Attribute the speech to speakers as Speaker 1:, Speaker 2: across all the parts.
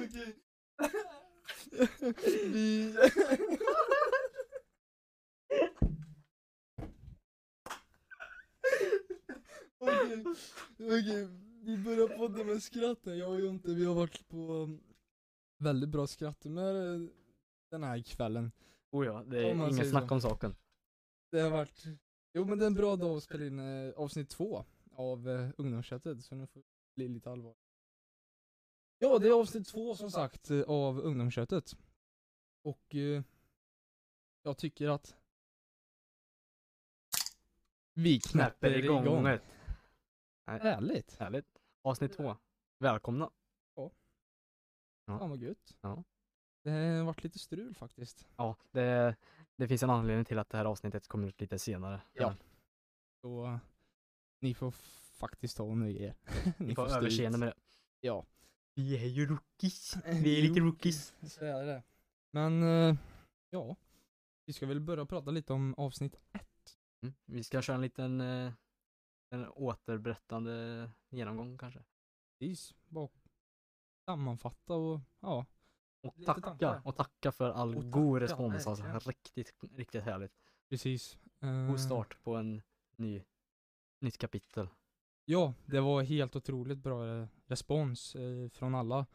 Speaker 1: Okej. Vi... Okej, okej. Vi börjar podden med skratten. Jag och Jonte, vi har varit på väldigt bra skratthumör eh, den här kvällen.
Speaker 2: Oh ja, det är
Speaker 1: Om man
Speaker 2: inget
Speaker 1: säger
Speaker 2: snack
Speaker 1: så.
Speaker 2: om saken.
Speaker 1: Det har varit... Jo men det är en bra dag att spela in eh, avsnitt två av eh, Ungdomschattet, så nu får det bli lite allvar. Ja, det är avsnitt två som sagt eh, av Ungdomschattet. Och eh, jag tycker att vi knäpper igång.
Speaker 2: ett.
Speaker 1: Ärligt.
Speaker 2: Härligt. Avsnitt två. Välkomna. Ja.
Speaker 1: Fan vad gött.
Speaker 2: Ja.
Speaker 1: Det har varit lite strul faktiskt.
Speaker 2: Ja, det, det finns en anledning till att det här avsnittet kommer ut lite senare.
Speaker 1: Ja. Så eh, ni får f- faktiskt ta och nöja er.
Speaker 2: Ni får
Speaker 1: stå ut.
Speaker 2: överseende med det.
Speaker 1: Ja.
Speaker 2: Vi är ju rookies.
Speaker 1: Vi är lite
Speaker 2: rookies.
Speaker 1: Så är det. Men, eh, ja. Vi ska väl börja prata lite om avsnitt
Speaker 2: Mm. Vi ska köra en liten eh, en återberättande genomgång kanske.
Speaker 1: precis. Bak. Sammanfatta och, ja.
Speaker 2: Och
Speaker 1: Lite
Speaker 2: tacka,
Speaker 1: tankar.
Speaker 2: och tacka för all
Speaker 1: Och
Speaker 2: god
Speaker 1: tacka,
Speaker 2: respons alltså.
Speaker 1: verkligen. Mm.
Speaker 2: Riktigt, riktigt härligt.
Speaker 1: Precis. Eh,
Speaker 2: God start på en ny, nytt kapitel.
Speaker 1: Ja, det var helt otroligt bra eh, respons eh, från alla.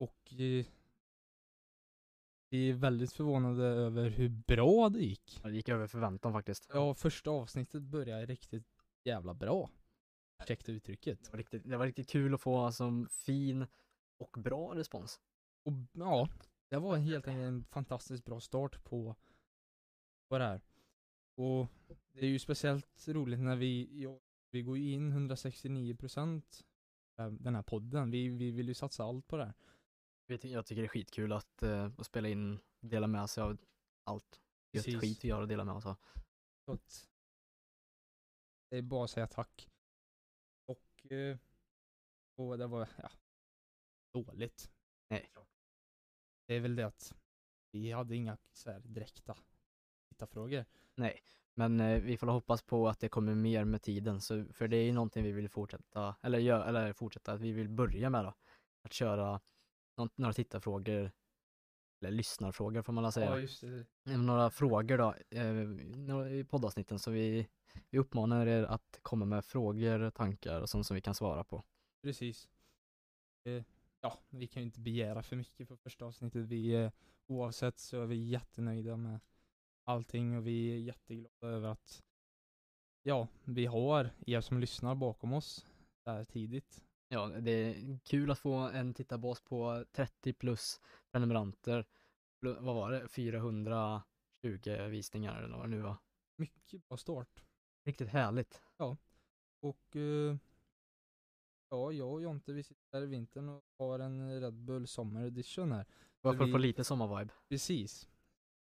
Speaker 1: Och eh, vi är väldigt förvånade över hur bra det gick.
Speaker 2: Ja, Det gick över förväntan faktiskt.
Speaker 1: Ja, första avsnittet började riktigt jävla bra. Ursäkta uttrycket.
Speaker 2: Det var riktigt, det var riktigt kul att få alltså, fin och bra respons.
Speaker 1: Och ja, det var helt enkelt en fantastiskt bra start på, på det här. Och det är ju speciellt roligt när vi, ja, vi går ju in 169% eh, den här podden. Vi, vi vill ju satsa allt på det här.
Speaker 2: Vet du, Jag tycker det är skitkul att, eh, att spela in, dela med sig av allt gött
Speaker 1: Precis.
Speaker 2: skit vi har att dela med oss av.
Speaker 1: Så att det är bara att säga tack. Och, eh, och det var, ja, dåligt.
Speaker 2: Nej.
Speaker 1: Det är väl det att vi hade inga så här direkta tittarfrågor.
Speaker 2: Men eh, vi får hoppas på att det kommer mer med tiden, så, för det är ju någonting vi vill fortsätta, eller, gö- eller fortsätta, att vi vill börja med då. Att köra nå- några tittarfrågor, eller lyssnarfrågor får man väl säga.
Speaker 1: just det.
Speaker 2: Eh, Några frågor då, eh, några- i poddavsnitten, så vi, vi uppmanar er att komma med frågor, tankar och sånt som vi kan svara på.
Speaker 1: Precis. Eh, ja, vi kan ju inte begära för mycket för första avsnittet. Vi, eh, oavsett så är vi jättenöjda med allting och vi är jätteglada över att ja, vi har er som lyssnar bakom oss där tidigt.
Speaker 2: Ja, det är kul att få en tittarbas på 30 plus prenumeranter. Plu- Vad var det? 420 visningar eller vad det nu var.
Speaker 1: Mycket bra start.
Speaker 2: Riktigt härligt.
Speaker 1: Och eh, ja, jag och Jonte vi sitter här i vintern och har en Red Bull Summer Edition här.
Speaker 2: Varför
Speaker 1: vi-
Speaker 2: få lite sommarvibe?
Speaker 1: Precis.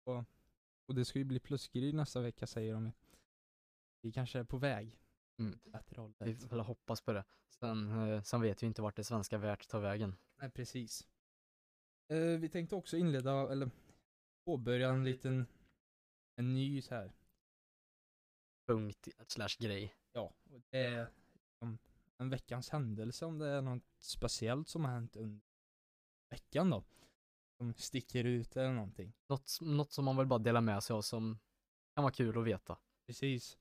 Speaker 1: Och, och det ska ju bli plusgrej nästa vecka säger de. Vi kanske är på väg.
Speaker 2: Mm.
Speaker 1: Bättre hållet.
Speaker 2: Vi får väl hoppas på det. Sen, eh, sen vet vi inte vart det svenska värt tar vägen.
Speaker 1: Nej, precis. Eh, vi tänkte också inleda, eller påbörja en liten, en ny så här.
Speaker 2: Punkt slash grej.
Speaker 1: Ja, och det är liksom en veckans händelse om det är något speciellt som har hänt under veckan då. Som sticker ut eller någonting.
Speaker 2: Något, s- något som man vill bara dela med sig av som kan vara kul att veta.
Speaker 1: Precis.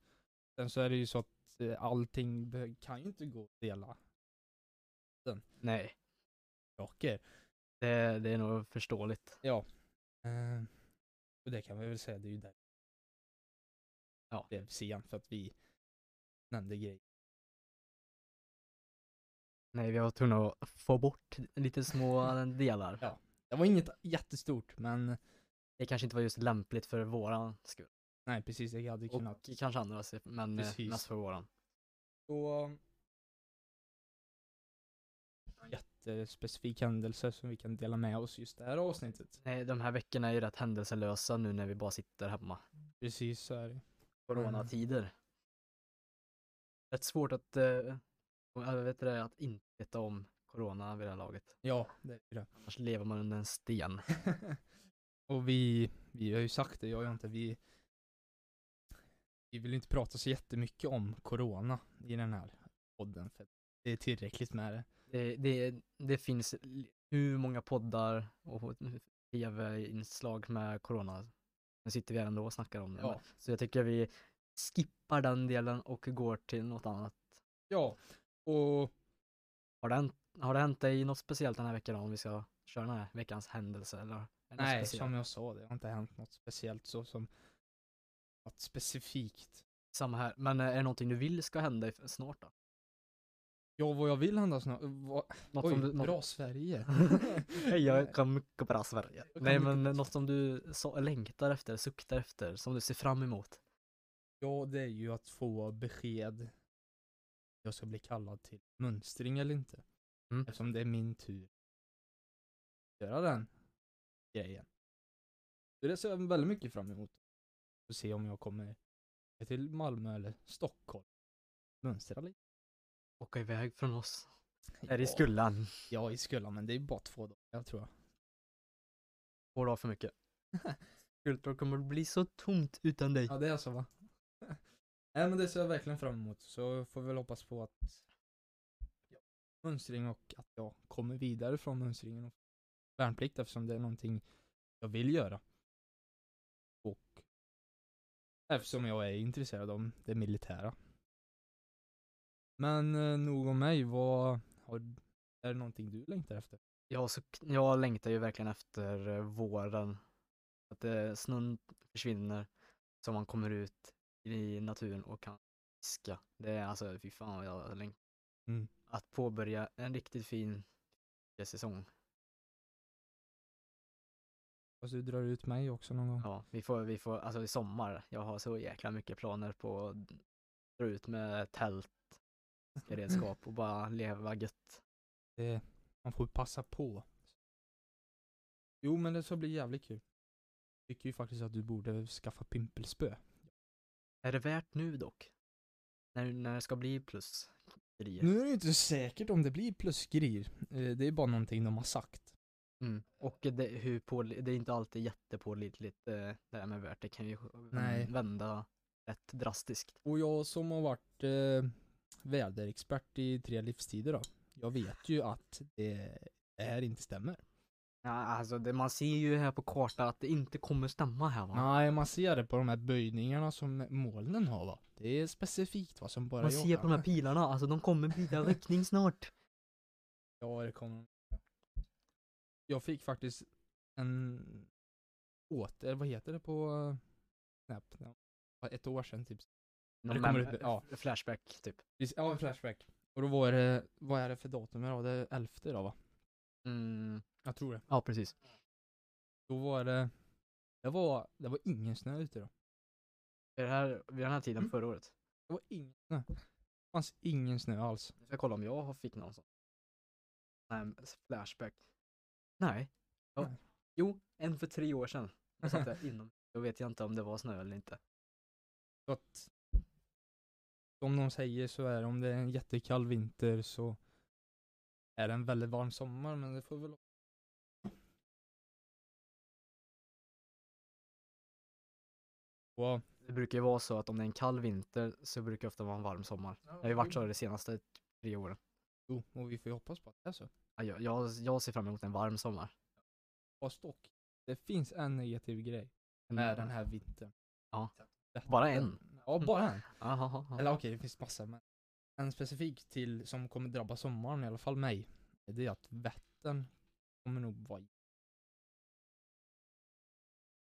Speaker 1: Sen så är det ju så att eh, allting be- kan ju inte gå att dela
Speaker 2: Nej,
Speaker 1: saker.
Speaker 2: det, det är nog förståeligt.
Speaker 1: Ja. Eh, och det kan vi väl säga, det är ju där
Speaker 2: Ja.
Speaker 1: det blev sent för att vi nämnde grejer.
Speaker 2: Nej, vi var tvungna att få bort lite små delar.
Speaker 1: Ja. Det var inget jättestort, men
Speaker 2: Det kanske inte var just lämpligt för våran skull.
Speaker 1: nej precis, det hade
Speaker 2: Och
Speaker 1: kunnat.
Speaker 2: kanske andra, sig- men eh,
Speaker 1: Precis.
Speaker 2: mest för våran.
Speaker 1: Så... Jättespecifik händelse som vi kan dela med oss just det här avsnittet.
Speaker 2: Nej, de här veckorna är ju rätt händelselösa nu när vi bara sitter hemma.
Speaker 1: Precis så är det. Mm.
Speaker 2: Coronatider. Rätt svårt att, eh, jag vet det, att inte veta om corona vid det här laget.
Speaker 1: Ja, det är det.
Speaker 2: Annars lever man under en sten.
Speaker 1: och vi, vi har ju sagt det, jag och inte, vi vi vill inte prata så jättemycket om corona i den här podden. För det är tillräckligt med det.
Speaker 2: Det, det, det finns l- hur många poddar och tv-inslag med corona. Nu sitter vi här ändå och snackar om det.
Speaker 1: Ja.
Speaker 2: Så jag tycker vi skippar den delen och går till något annat.
Speaker 1: Ja, och
Speaker 2: Har det, hänt- har det hänt dig något speciellt den här veckan om vi ska köra den här veckans händelse eller? är det något
Speaker 1: nej,
Speaker 2: speciellt?
Speaker 1: som jag sa, det har inte hänt något speciellt så som något specifikt.
Speaker 2: Samma här. Men eh, är det någonting du vill ska hända i- snart då?
Speaker 1: Ja, vad jag vill hända snart. Vad,
Speaker 2: Något
Speaker 1: oj,
Speaker 2: som du, något...
Speaker 1: bra Sverige.
Speaker 2: Hej, jag kan mycket bra Sverige.
Speaker 1: kan
Speaker 2: Nej
Speaker 1: mycket
Speaker 2: men eh,
Speaker 1: bra
Speaker 2: något som du så, längtar efter, suktar efter, som du ser fram emot.
Speaker 1: Ja, det är ju att få besked. Jag ska bli kallad till mönstring eller inte.
Speaker 2: Mm.
Speaker 1: Eftersom det är min tur. att Göra den grejen. Så det ser jag väldigt mycket fram emot. Att se om jag kommer till Malmö eller Stockholm. Mönstra lite.
Speaker 2: Åka iväg från oss. Är det i
Speaker 1: Ja,
Speaker 2: skullan?
Speaker 1: Ja, i Skullan, men det är bara två dagar tror jag.
Speaker 2: Två dagar för mycket. Skultorp kommer bli så tomt utan dig.
Speaker 1: Ja, det är så va? Nej, men det ser jag verkligen fram emot. Så får vi väl hoppas på att ja, mönstring och att jag kommer vidare från mönstringen och värnplikt eftersom det är någonting jag vill göra. Och eftersom jag är intresserad av det militära. Men eh, nog om mig, vad har, är det någonting du längtar efter?
Speaker 2: Jag, så, jag längtar ju verkligen efter eh, våren. Att eh, snön försvinner så man kommer ut i naturen och kan fiska. Det är alltså, fy fan vad jag längtar.
Speaker 1: Mm.
Speaker 2: Att påbörja en riktigt fin säsong.
Speaker 1: Fast Alltså, du drar ut mig också någon gång.
Speaker 2: Ja, vi får, vi får, alltså i sommar, jag har så jäkla mycket planer på att dra ut med tält, redskap och bara leva gött.
Speaker 1: Det, man får passa på. Jo men det ska bli jävligt kul. Tycker ju faktiskt att du borde skaffa pimpelspö.
Speaker 2: Är det värt nu dock? När, när det ska bli plus grejer.
Speaker 1: Nu är det ju inte säkert om det blir plusgrejer. Eh, Det är bara någonting de har sagt.
Speaker 2: Mm. Och det, hur på, det är inte alltid jättepålitligt eh, det här med värt, det kan ju
Speaker 1: Nej.
Speaker 2: vända rätt drastiskt.
Speaker 1: Och jag som har varit eh, väderexpert i tre livstider då. Jag vet ju att det, det här inte stämmer.
Speaker 2: Ja, alltså det, man ser ju här på kartan att det inte kommer stämma här va?
Speaker 1: Nej, man ser det på de här böjningarna som molnen har va. Det är specifikt vad som bara
Speaker 2: man
Speaker 1: jag
Speaker 2: ser på
Speaker 1: kan.
Speaker 2: de här pilarna, alltså de kommer byta riktning snart.
Speaker 1: Ja, det kommer Jag fick faktiskt en åter, vad heter det på eh, Snap? Ja, Ett år sedan typ.
Speaker 2: De
Speaker 1: det kommer
Speaker 2: mem-
Speaker 1: upp- ja.
Speaker 2: f- Flashback typ.
Speaker 1: Precis, Ja, en Flashback. Och då var det, vad är det för datum idag? Det är 11 idag va?
Speaker 2: Mm.
Speaker 1: Jag tror det.
Speaker 2: Ja precis.
Speaker 1: Då var det, det var, det var ingen snö ute då.
Speaker 2: Är det här, vid den här tiden
Speaker 1: Mm.
Speaker 2: förra året?
Speaker 1: Det var ingen snö. Det fanns ingen snö alls.
Speaker 2: Jag ska kolla om jag har- fick någon sån. Nej, men s- flashback. Nej. Ja.
Speaker 1: Nej.
Speaker 2: Jo, en för tre år sedan. Då satt jag inom. Då vet jag inte om det var snö eller inte.
Speaker 1: Så att, som de säger så är det, om det är en jättekall vinter så är det en väldigt varm sommar, men det får väl Wow.
Speaker 2: Det brukar ju vara så att om det är en kall vinter så brukar det ofta vara en varm sommar. Det har ju varit så de senaste tre åren.
Speaker 1: Jo, och vi får ju hoppas på att det är så.
Speaker 2: Ja, Jag, jag, jag ser fram emot en varm sommar.
Speaker 1: Fast dock, det finns en negativ grej
Speaker 2: En-
Speaker 1: med den här vintern.
Speaker 2: Mm. Ja.
Speaker 1: Detta-
Speaker 2: Bara en?
Speaker 1: Ja, bara en.
Speaker 2: Aha, aha.
Speaker 1: Eller okej, det finns massor men en specifik till som kommer drabba sommaren, i alla fall mig, det är att Vättern kommer nog vara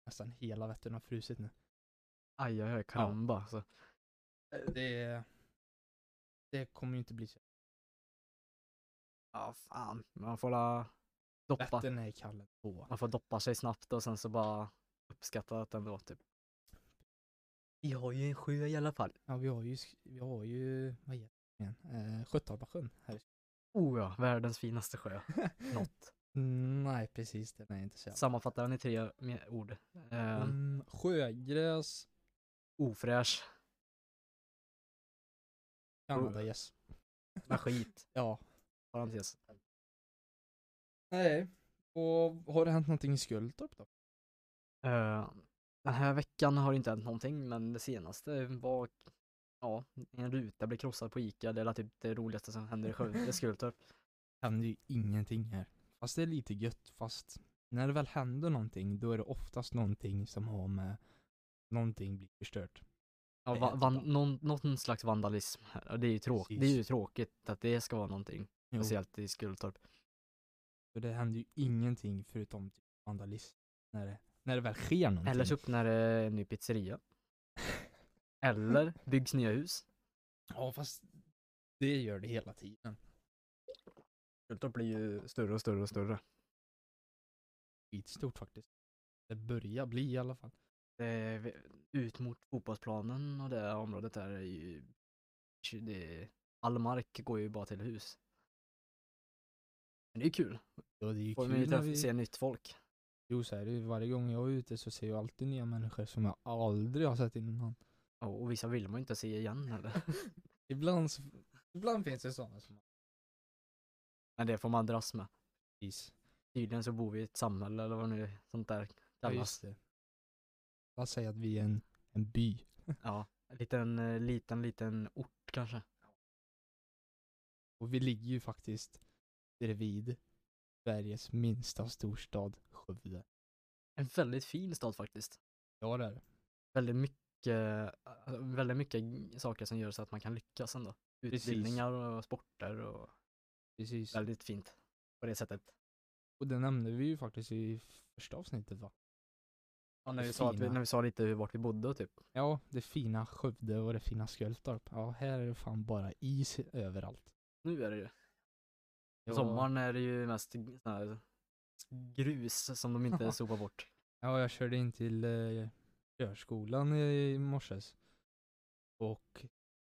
Speaker 1: Nästan hela Vättern har frusit nu.
Speaker 2: Aj, aj, aj, karamba. alltså. Så.
Speaker 1: Det, det kommer ju inte bli så.
Speaker 2: Ja, fan. Man får la doppa.
Speaker 1: Vättern är kall ändå.
Speaker 2: Man får doppa sig snabbt och sen så bara uppskatta att den då typ. Vi har ju en sjö i alla fall.
Speaker 1: Ja, vi har ju, sk- vi har ju, vad heter det igen? Eh, Sköttorpasjön här. i
Speaker 2: Oh ja, världens finaste sjö.
Speaker 1: Sk-
Speaker 2: Något.
Speaker 1: Mm, Nej, precis, den är inte så jävla.
Speaker 2: Sammanfattar den i tre me- ord. Eh,
Speaker 1: Mm, sjögräs,
Speaker 2: Ofräsch,
Speaker 1: Kanadagäss.
Speaker 2: med skit.
Speaker 1: Ja.
Speaker 2: Parentes.
Speaker 1: Nej. Och har det hänt någonting i Skultorp då?
Speaker 2: Eh, Den här veckan har det inte hänt någonting, men det senaste var ja, en ruta blev krossad på Ica. Det är typ det roligaste som händer i Skövde, i Skultorp.
Speaker 1: händer ju ingenting här. Fast det är lite gött, fast när det väl händer någonting då är det oftast någonting som har med någonting blir förstört.
Speaker 2: Ja,
Speaker 1: Det
Speaker 2: va,
Speaker 1: är
Speaker 2: van,
Speaker 1: bra.
Speaker 2: någon, någon slags vandalism här. Och Det är ju tråkigt. Det är
Speaker 1: Precis.
Speaker 2: ju tråkigt att det ska vara någonting.
Speaker 1: Jo,
Speaker 2: Speciellt i typ. Skultorp.
Speaker 1: för det händer ju ingenting förutom typ vandalism när det, när det väl sker någonting.
Speaker 2: Eller så öppnar det en ny pizzeria. Eller byggs nya hus.
Speaker 1: Ja fast det gör det hela tiden.
Speaker 2: Skultorp blir ju större och större och större.
Speaker 1: Skitstort faktiskt. Det börjar bli i alla fall.
Speaker 2: Det är, eh, vi- ut mot fotbollsplanen och det här området där är ju... Det, all mark går ju bara till hus. Men det är ju kul.
Speaker 1: Ja det är ju
Speaker 2: Får man ju
Speaker 1: kul när
Speaker 2: träffa,
Speaker 1: vi...
Speaker 2: se nytt folk.
Speaker 1: Jo så är det ju. Varje gång jag är ute så ser jag alltid nya människor som jag aldrig har sett innan.
Speaker 2: Ja, Och vissa vill man ju inte se igen heller.
Speaker 1: Ibland, så... Ibland finns det sådana som...
Speaker 2: Men det får man dras med.
Speaker 1: Precis.
Speaker 2: Tydligen så bor vi i ett samhälle eller vad nu sånt där
Speaker 1: Ja,
Speaker 2: kallas.
Speaker 1: just det. Vad säger att vi är en, en by?
Speaker 2: Ja, en liten, eh, liten, liten ort kanske.
Speaker 1: Och vi ligger ju faktiskt bredvid Sveriges minsta storstad, Skövde.
Speaker 2: En väldigt fin stad faktiskt.
Speaker 1: Ja, det är det.
Speaker 2: Väldigt mycket, alltså, väldigt mycket saker som gör så att man kan lyckas ändå.
Speaker 1: Precis.
Speaker 2: Utbildningar och sporter och
Speaker 1: Precis.
Speaker 2: väldigt fint på det sättet.
Speaker 1: Och det nämnde vi ju faktiskt i första avsnittet va?
Speaker 2: Ja, när,
Speaker 1: Det
Speaker 2: vi sa att vi,
Speaker 1: fina.
Speaker 2: när vi sa lite hur- vart vi bodde och typ.
Speaker 1: Ja, det fina Skövde och det fina Skultorp. Ja, här är det fan bara is överallt.
Speaker 2: Nu är det ju.
Speaker 1: Ja,
Speaker 2: På sommaren är det ju mest g- sån här grus som de inte sopar bort.
Speaker 1: Ja, jag körde in till eh, körskolan i morses. Och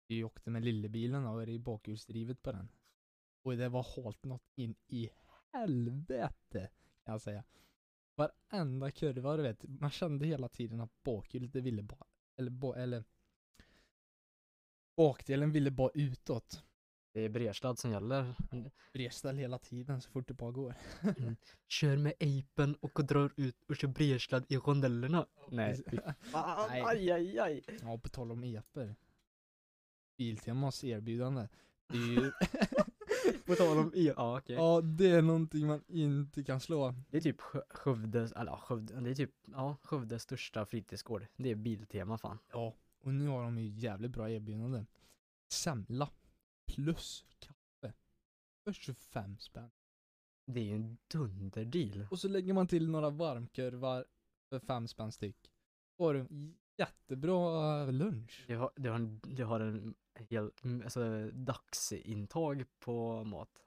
Speaker 1: vi åkte med lillebilen då, och det är bakhjulsdrivet på den. Och det var halt något in i helvete, kan jag säga. Varenda kurva, du vet. Man kände hela tiden att bakhjulet det ville bara, eller, ba, eller bakdelen ville bara utåt.
Speaker 2: Det är Brerstad som gäller.
Speaker 1: Bredställ hela tiden så fort det bara går.
Speaker 2: Kör med apen och drar ut och kör Brerstad i rondellerna. Nej, fy fan.
Speaker 1: Nej.
Speaker 2: Aj, aj, aj.
Speaker 1: Ja, på tal om eper. Biltemas erbjudande. Det är ju...
Speaker 2: På tal om e- ja, okej.
Speaker 1: Ja, det är någonting man inte kan slå.
Speaker 2: Det är typ Skö- Skövdes, eller ja, Skövde, det är typ, ja, Skövdes största fritidsgård. Det är Biltema fan.
Speaker 1: Ja. Och nu har de ju jävligt bra erbjudanden. Semla plus kaffe för 25 spänn.
Speaker 2: Det är ju en dunderdeal.
Speaker 1: Och så lägger man till några varmkurvar för 5 spänn styck. Får du en jättebra lunch.
Speaker 2: Du har, du har en, du har en hel, mm, alltså dagsintag på mat.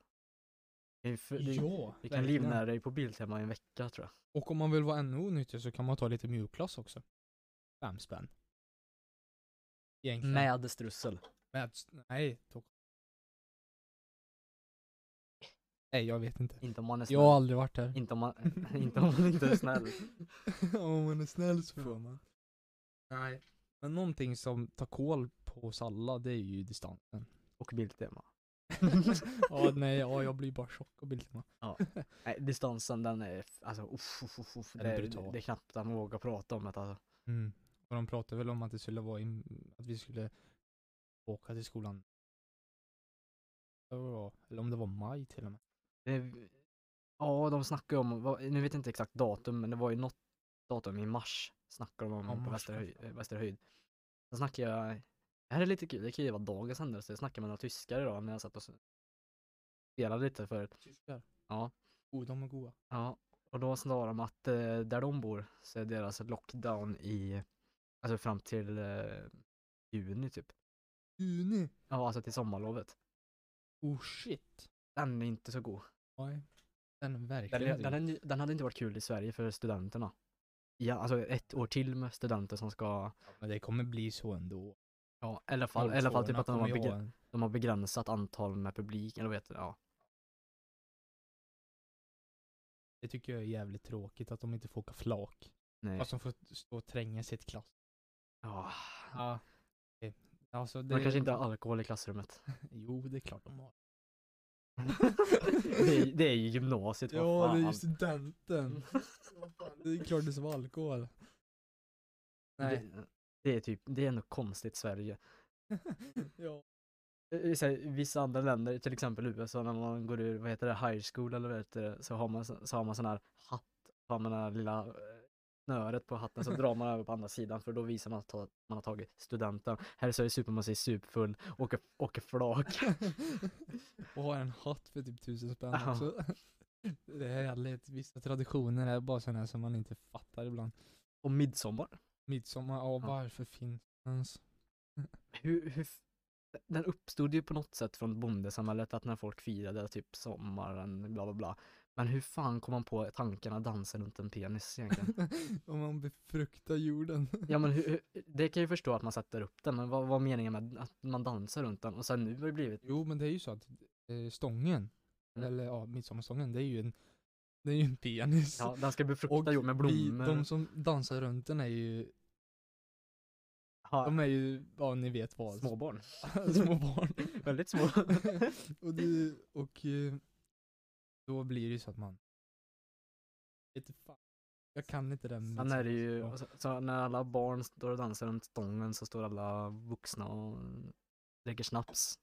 Speaker 2: Det är för- Du, du kan
Speaker 1: verkligen.
Speaker 2: livnära dig på Biltema i en vecka tror jag.
Speaker 1: Och om man vill vara ännu onyttig så kan man ta lite mjukglass också. 5 spänn. Egentligen.
Speaker 2: Med strussel.
Speaker 1: Med, nej, tog. Nej, jag vet inte.
Speaker 2: Inte om man är snäll.
Speaker 1: Jag har aldrig varit där.
Speaker 2: Inte om man, inte om man inte är snäll.
Speaker 1: om man är snäll så får man. Nej. Men någonting som tar koll på oss alla, det är ju distansen.
Speaker 2: Och Biltema.
Speaker 1: ja, nej, ja, jag blir bara tjock och bilderna.
Speaker 2: Nej, distansen den är, f- alltså uff, uff, uff, uff.
Speaker 1: Den
Speaker 2: Det,
Speaker 1: är
Speaker 2: är,
Speaker 1: brutal.
Speaker 2: det är knappt att man vågar prata om det alltså.
Speaker 1: Mm. Och de pratade väl om att det skulle vara, i, att vi skulle åka till skolan. Det var- Eller om det var maj till och med.
Speaker 2: Det, Eh, ja, de snackar ju om, vad- nu vet jag inte exakt datum, men det var ju något datum i mars snackar de om
Speaker 1: Ja,
Speaker 2: på
Speaker 1: mars
Speaker 2: Västerhöj,
Speaker 1: kanske.
Speaker 2: eh, Västerhöjd. Då snackar jag, det här är lite kul, det kan ju vara dagens händelse, jag snackade med några tyskar idag när jag satt och s- spelade lite förut.
Speaker 1: Tyskar.
Speaker 2: Ja.
Speaker 1: Oh, de är goa.
Speaker 2: Ja, och då sa de att eh, där de bor så är deras lockdown i, alltså fram till eh, juni typ.
Speaker 1: Juni.
Speaker 2: Ja, alltså till sommarlovet.
Speaker 1: Oh shit.
Speaker 2: Den är inte så god.
Speaker 1: Nej. Den är
Speaker 2: Den,
Speaker 1: verkligen
Speaker 2: den,
Speaker 1: inte god.
Speaker 2: hade- den hade inte varit kul i Sverige för studenterna. Ja, alltså ett år till med studenter som ska,
Speaker 1: Men det kommer bli så ändå.
Speaker 2: ja, i alla fall, i alla fall typ
Speaker 1: 02:orna
Speaker 2: att de har,
Speaker 1: kommer ju ha
Speaker 2: begräns,
Speaker 1: en-
Speaker 2: de har begränsat antal med publik, eller vad heter det? Ja.
Speaker 1: Det tycker jag är jävligt tråkigt att de inte får åka flak.
Speaker 2: Nej.
Speaker 1: Fast de får stå och tränga sitt klass.
Speaker 2: Ja.
Speaker 1: Ja. Okej. Alltså det...
Speaker 2: Man kanske inte har alkohol i klassrummet.
Speaker 1: Jo, det är klart de har.
Speaker 2: det, är, det är ju gymnasiet, vad fan. Mm.
Speaker 1: studenten. det är klart det ska vara alkohol. Nej.
Speaker 2: Det, det är typ, det är nog konstigt Sverige.
Speaker 1: ja.
Speaker 2: I Eh, så här, vissa andra länder, till exempel USA, när man går ur, vad heter det, high school eller vad heter det, så har man, så så har man sån här hatt, så har man den här lilla eh, snöret på hatten så drar man över på andra sidan för då visar man att ta- man har tagit studenten. Här i Sverige super man sig superfull, åker, åker flak.
Speaker 1: och har en hatt för typ tusen spänn
Speaker 2: Ja.
Speaker 1: också. det är härligt. Vissa traditioner är bara sådana som man inte fattar ibland.
Speaker 2: Och midsommar.
Speaker 1: Midsommar, ja
Speaker 2: Ja.
Speaker 1: varför finns den ens?
Speaker 2: Hur, hur, f- den uppstod ju på något sätt från bondesamhället att när folk firade typ sommaren, bla bla bla. Men hur fan kom man på tanken att dansa runt en penis egentligen?
Speaker 1: Om man befruktar jorden.
Speaker 2: Ja men hur, hur- det kan jag ju förstå att man sätter upp den, men vad vad är meningen med att man dansar runt den? Och sen nu har det blivit,
Speaker 1: Jo men det är ju så att eh, stången,
Speaker 2: Mm.
Speaker 1: eller ja midsommarstången, det är ju en, det är ju en penis.
Speaker 2: ja den ska
Speaker 1: och
Speaker 2: befrukta jord med
Speaker 1: vi,
Speaker 2: blommor.
Speaker 1: de som dansar runt den är ju,
Speaker 2: Ja,
Speaker 1: de är ju, ja ni vet vad.
Speaker 2: småbarn.
Speaker 1: små barn.
Speaker 2: Väldigt små.
Speaker 1: och, det, och eh, då blir det ju så att man Vet fan. Jag kan inte den
Speaker 2: Sen är det ju,
Speaker 1: Ja.
Speaker 2: och så, så när alla barn står och dansar runt stången så står alla vuxna och dricker snaps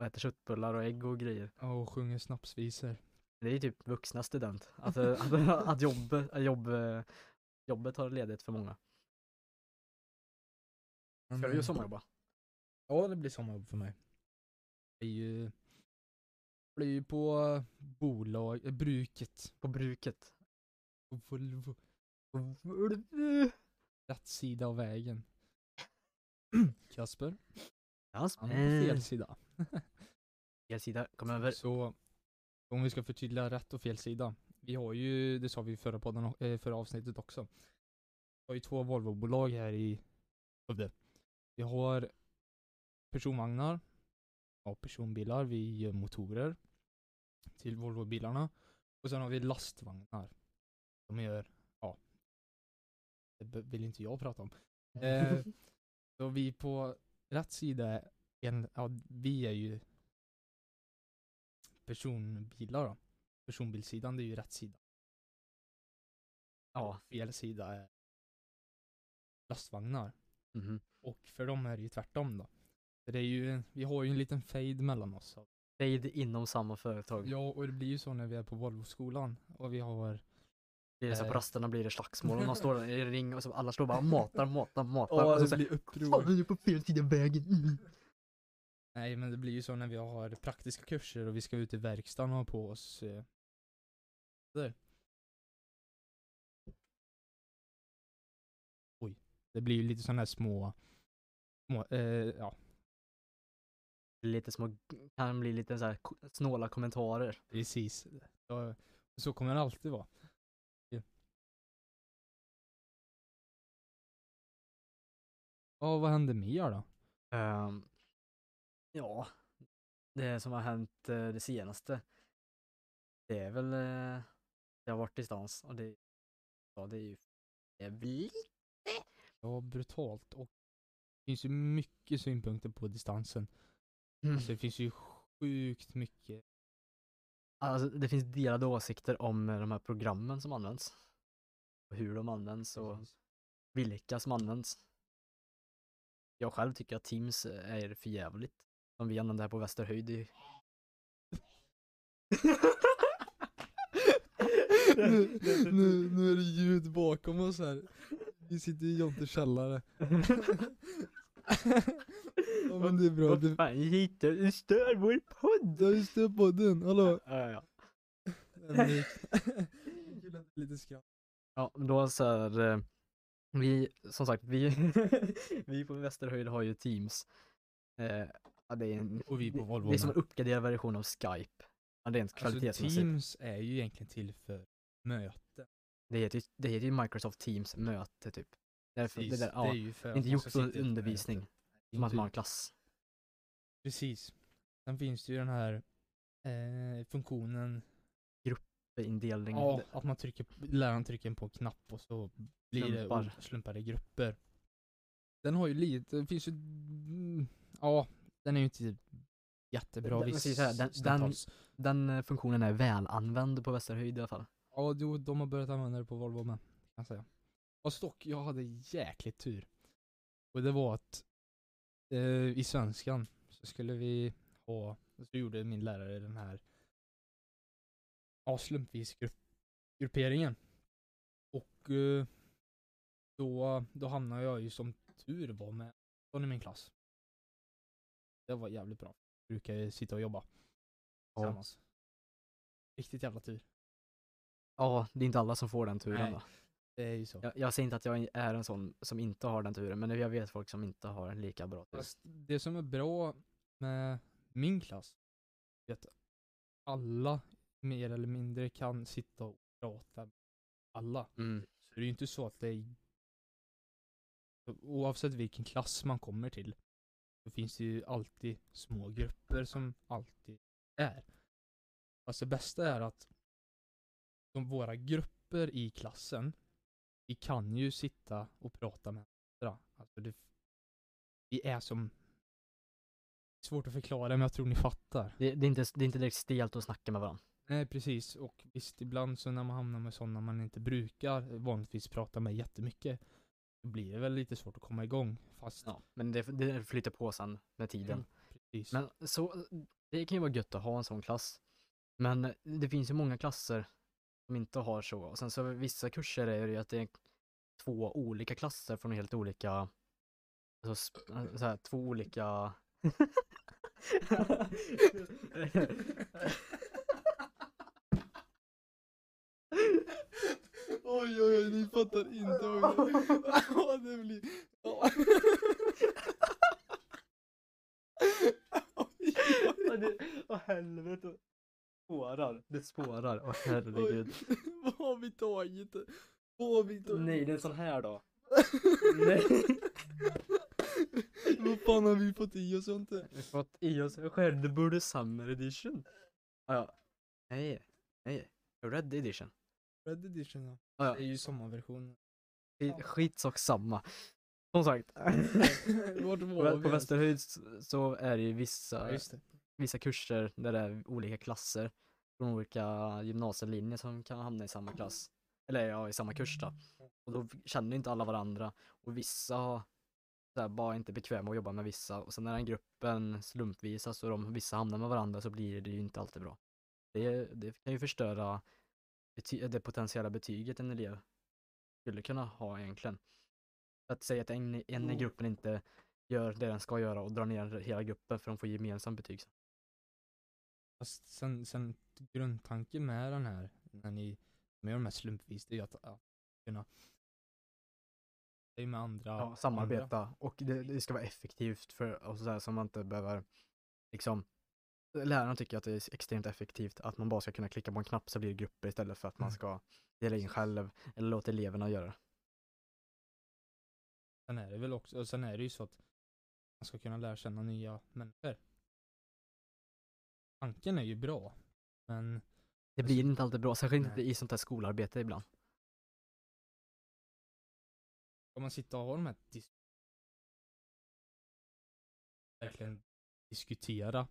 Speaker 2: och äter köttbullar och ägg och grejer.
Speaker 1: Ja, och sjunger snapsvisor.
Speaker 2: Det är ju typ vuxna student. Att, eh, att, att jobb, eh, jobb, jobbet har ledigt för många. Ska du ju sommarjobba?
Speaker 1: eh, Ja, det blir sommarjobb för mig. Det är ju jag blir ju på bolag, eh, bruket,
Speaker 2: På bruket?
Speaker 1: på Volvo,
Speaker 2: På
Speaker 1: rätt sida av vägen. Kasper, han är på
Speaker 2: Jasper.
Speaker 1: fel sida.
Speaker 2: Fel sida, kom över.
Speaker 1: Så om vi ska förtydliga rätt och fel sida. Vi har ju, det sa vi i förra, podden, o- eh, förra avsnittet också. Vi har ju två Volvo-bolag här i Skövde. Vi har personvagnar, ja, personbilar, vi gör motorer till Volvo-bilarna. Och sen har vi lastvagnar. De gör, ja, det be- vill inte jag prata om. Eh, så vi på rätt sida, en, ja, vi är ju personbilar då. Personbilsidan det är ju rätt sida.
Speaker 2: Ja.
Speaker 1: Fel sida är lastvagnar.
Speaker 2: mhm.
Speaker 1: Och för dem är det ju tvärtom då. Så det är ju, vi har ju en liten fade mellan oss.
Speaker 2: Fade inom samma företag.
Speaker 1: Ja, och det blir ju så när vi är på Volvo-skolan och vi har
Speaker 2: Blir det så här
Speaker 1: Eh.
Speaker 2: på rasterna blir det slagsmål och någon står där i en ring och så alla står bara matar, matar, matar.
Speaker 1: Ja,
Speaker 2: och så
Speaker 1: Alltså, det
Speaker 2: säger
Speaker 1: blir
Speaker 2: alltså, Fan
Speaker 1: uppror.
Speaker 2: vi är på fel sida av vägen. Mm.
Speaker 1: Nej, men det blir ju så när vi har praktiska kurser och vi ska ut i verkstaden och ha på oss eh, där. Oj, det blir ju lite sådana här små, små eh, ja,
Speaker 2: Lite små, kan bli lite så här ko- snåla kommentarer.
Speaker 1: Precis. Ja, Så kommer det alltid vara. Ja, Ja, vad hände mer då?
Speaker 2: Ehm, ja, det som har hänt eh, det senaste. Det är väl, eh, det har varit distans och det, ja det är ju jävligt.
Speaker 1: Ja, brutalt. Och det finns ju mycket synpunkter på distansen.
Speaker 2: Mm.
Speaker 1: Alltså, det finns ju sjukt mycket.
Speaker 2: Alltså, det finns delade åsikter om eh, de här programmen som används. Och hur de används och
Speaker 1: Precis.
Speaker 2: vilka som används. Jag själv tycker att Teams eh, är för jävligt. Som vi använder här på Västerhöjd i...
Speaker 1: nu, nu, nu är det ljud bakom oss här. Vi sitter i Jontes källare. ja, men det är bra.
Speaker 2: Vad
Speaker 1: Det,
Speaker 2: fan hit du stör vår podd!
Speaker 1: det är just det podden. Hallå.
Speaker 2: Ja, ja.
Speaker 1: Henrik. Lite skratt.
Speaker 2: Ja, men då så här, eh, vi, som sagt, vi, vi på Västerhöjd har ju Teams. Eh, ja, det är en,
Speaker 1: Och vi på
Speaker 2: det-
Speaker 1: Volvo
Speaker 2: Det är som
Speaker 1: med.
Speaker 2: en uppgraderad version av Skype. Ja, rent
Speaker 1: Alltså
Speaker 2: kvalitetsmässigt.
Speaker 1: Teams är ju egentligen till för möten.
Speaker 2: det, heter ju, det heter ju Microsoft Teams möte typ. Därför, det
Speaker 1: Precis.
Speaker 2: där, ja,
Speaker 1: är ju för
Speaker 2: inte
Speaker 1: man ska
Speaker 2: gjort för
Speaker 1: sitta i typ. ett
Speaker 2: undervisning.
Speaker 1: möte.
Speaker 2: Som att
Speaker 1: Inte-
Speaker 2: man har en klass.
Speaker 1: Precis. Sen finns det ju den här eh, funktionen,
Speaker 2: för indelning.
Speaker 1: ja, att man trycker, läraren trycker på en knapp och så blir det
Speaker 2: Slumpar.
Speaker 1: o- slumpade grupper. Den har ju lite, det finns ju, mm, ja, den är ju inte jättebra
Speaker 2: Den-
Speaker 1: viss
Speaker 2: precis här, den- den-
Speaker 1: stundtals.
Speaker 2: Den eh, funktionen är väl använd på Västerhöjd i alla fall.
Speaker 1: Ja, jo, de har börjat använda det på Volvo med, kan jag säga. Fast dock, jag hade jäkligt tur. Och det var att eh, i svenskan så skulle vi ha, så gjorde min lärare den här ja, slumpvis grupp, grupperingen. Och eh, då, då hamnade jag ju som tur var med Anton i min klass. Det var jävligt bra. Brukar ju sitta och jobba
Speaker 2: Ja.
Speaker 1: tillsammans. Riktigt jävla tur.
Speaker 2: ja, det är inte alla som får den turen
Speaker 1: Nej.
Speaker 2: då.
Speaker 1: Det är ju så.
Speaker 2: Jag, jag säger inte att jag är en sån som inte har den turen, men jag vet folk som inte har en lika bra tur.
Speaker 1: Fast det som är bra med min klass är att alla mer eller mindre kan sitta och prata med alla.
Speaker 2: Mm.
Speaker 1: Så det är ju inte så att det är oavsett vilken klass man kommer till så finns det ju alltid små grupper som alltid är. Fast det bästa är att de, våra grupper i klassen, vi kan ju sitta och prata med varandra. Alltså det, vi är som Svårt att förklara men jag tror ni fattar.
Speaker 2: Det, det, är inte, det är inte direkt stelt att snacka med varandra.
Speaker 1: Nej precis, och visst ibland så när man hamnar med sådana man inte brukar vanligtvis prata med jättemycket Då blir det väl lite svårt att komma igång fast
Speaker 2: Ja, men det, det flyter på sen med tiden.
Speaker 1: Mm, precis.
Speaker 2: Men så, det kan ju vara gött att ha en sån klass. Men det finns ju många klasser som inte har så. Och sen så vissa kurser är det ju att det är två olika klasser från helt olika, alltså, s- så här, två olika
Speaker 1: Oj oj oj, ni fattar inte vad Ja, det blir... Ja. Oj,
Speaker 2: Åh det, åh, helvete. Spårar. Det spårar. Åh
Speaker 1: oj.
Speaker 2: herregud.
Speaker 1: Vad har vi tagit? Vad har vi
Speaker 2: Nej, det är en sån här då.
Speaker 1: Vad fan har vi fått i oss och inte?
Speaker 2: Vi har fått i oss Skärdeburde Summer Edition. Ah, ja. Nej, nej. Red Edition.
Speaker 1: Red edition ja.
Speaker 2: Ah, ja.
Speaker 1: Det är ju sommarversionen.
Speaker 2: Skit- Skitsak samma. Som sagt.
Speaker 1: Vart var
Speaker 2: på
Speaker 1: vi
Speaker 2: på
Speaker 1: ens?
Speaker 2: Västerhöjd s- så är det ju
Speaker 1: Ja,
Speaker 2: vissa,
Speaker 1: just det.
Speaker 2: vissa kurser där det är olika klasser från olika gymnasielinjer som kan hamna i samma klass. Eller ja, i samma kurs då. Och då känner ju inte alla varandra och vissa har så här, bara inte bekväma att jobba med vissa och sen när den gruppen slumpvis, alltså de, vissa hamnar med varandra så blir det ju inte alltid bra. Det, det kan ju förstöra bety- det potentiella betyget en elev skulle kunna ha egentligen. Att säga att en, en i
Speaker 1: Mm.
Speaker 2: gruppen inte gör det den ska göra och drar ner hela gruppen för de får gemensamt betyg. sen.
Speaker 1: Fast sen, sen grundtanken med den här, när ni när ni gör de här slumpvis, det är ju att, att kunna det är ju med andra.
Speaker 2: Ja,
Speaker 1: andra.
Speaker 2: samarbeta och det, det ska vara effektivt för och sådär så man inte behöver liksom Lärarna tycker att det är extremt effektivt att man bara ska kunna klicka på en knapp så blir det grupper istället för att man
Speaker 1: Mm.
Speaker 2: ska dela in själv eller låta eleverna göra det.
Speaker 1: Sen är det väl också, och sen är det ju så att man ska kunna lära känna nya människor. Tanken är ju bra, men
Speaker 2: Det
Speaker 1: Alltså-
Speaker 2: blir inte alltid bra, särskilt inte
Speaker 1: Nej.
Speaker 2: i sånt här skolarbete ibland.
Speaker 1: om man sitter och har de här dis- verkligen diskutera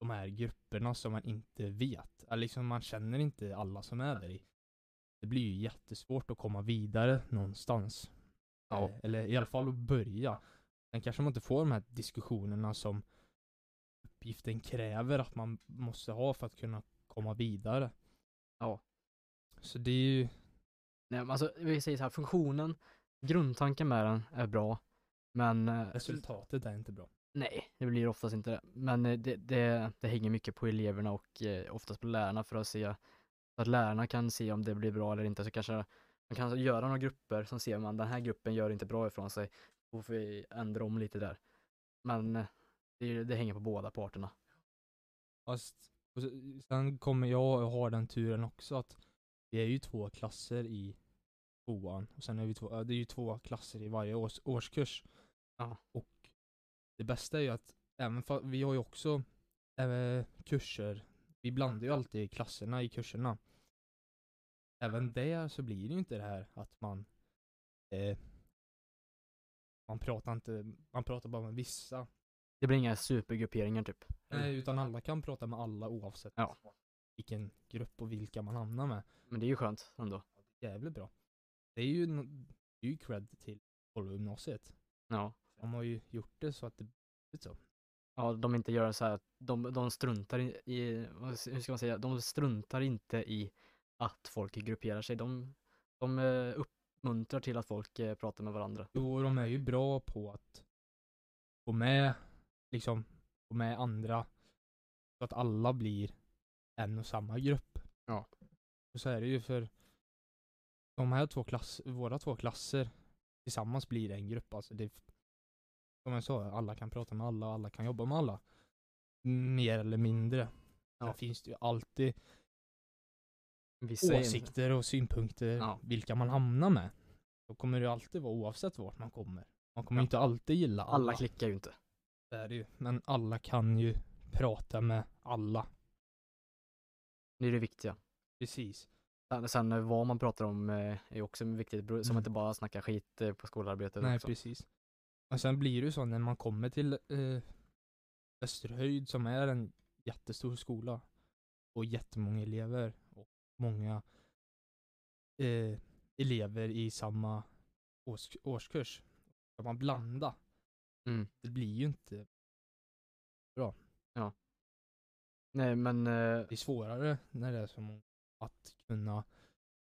Speaker 1: de här grupperna som man inte vet. Eller liksom man känner inte alla som är där i. Det blir ju jättesvårt att komma vidare någonstans.
Speaker 2: Ja.
Speaker 1: Eh, Eller i alla fall att börja. Sen kanske man inte får de här diskussionerna som uppgiften kräver att man måste ha för att kunna komma vidare.
Speaker 2: Ja.
Speaker 1: Så det är ju
Speaker 2: Nej, men alltså, vi säger så här, funktionen, grundtanken med den är bra, men eh,
Speaker 1: resultatet är inte bra.
Speaker 2: Nej, det blir oftast inte det. Men eh, det, det, det hänger mycket på eleverna och eh, oftast på lärarna för att se, för att lärarna kan se om det blir bra eller inte. Så kanske man kan göra några grupper som ser man den här gruppen gör inte bra ifrån sig. Då får vi ändra om lite där. Men eh, det, det hänger på båda parterna.
Speaker 1: Fast, och se- sen kommer jag och har den turen också att vi är ju två klasser i tvåan och sen är vi två, ja, det är ju två klasser i varje års, årskurs.
Speaker 2: Ja.
Speaker 1: Och det bästa är ju att även fa- vi har ju också eh, kurser, vi blandar ju alltid klasserna i kurserna. Även där så blir det ju inte det här att man eh, man pratar inte, man pratar bara med vissa.
Speaker 2: Det blir inga supergrupperingar typ.
Speaker 1: Nej, Eh, utan alla kan prata med alla oavsett
Speaker 2: Ja.
Speaker 1: vilken grupp och vilka man hamnar med.
Speaker 2: Men det är ju skönt ändå.
Speaker 1: Jävligt bra. Det är ju, nå- det är ju cred till Volvogymnasiet.
Speaker 2: Ja.
Speaker 1: De har ju gjort det så att det blivit så.
Speaker 2: ja, de inte gör så här, de, de struntar i- i, vad s- hur ska man säga, de struntar inte i att folk grupperar sig. De, de eh, uppmuntrar till att folk eh, pratar med varandra.
Speaker 1: Jo, och de är ju bra på att få med, liksom, få med andra. Så att alla blir en och samma grupp.
Speaker 2: Ja.
Speaker 1: Och så är det ju för de här två klass, våra två klasser tillsammans blir en grupp. Alltså det, som jag sa, alla kan prata med alla, alla kan jobba med alla. Mer eller mindre.
Speaker 2: Ja.
Speaker 1: Där finns det ju alltid
Speaker 2: Vissa är-
Speaker 1: åsikter och synpunkter
Speaker 2: Ja.
Speaker 1: vilka man hamnar med. Då kommer det ju alltid vara oavsett vart man kommer. Man kommer
Speaker 2: Ja.
Speaker 1: inte alltid gilla alla.
Speaker 2: Alla klickar ju inte.
Speaker 1: Det är det ju. Men alla kan ju prata med alla.
Speaker 2: Det är det viktiga.
Speaker 1: Precis.
Speaker 2: Sen, sen eh, vad man pratar om eh, är ju också viktigt, bro- så man
Speaker 1: Mm.
Speaker 2: inte bara snackar skit eh, på skolarbetet
Speaker 1: Nej,
Speaker 2: också.
Speaker 1: precis. Och sen blir det ju så när man kommer till eh, Österhöjd som är en jättestor skola och jättemånga elever och många eh, elever i samma års- årskurs. Ska man blanda
Speaker 2: Mm.
Speaker 1: det blir ju inte,
Speaker 2: Nej, men eh,
Speaker 1: det är svårare när det är så många att kunna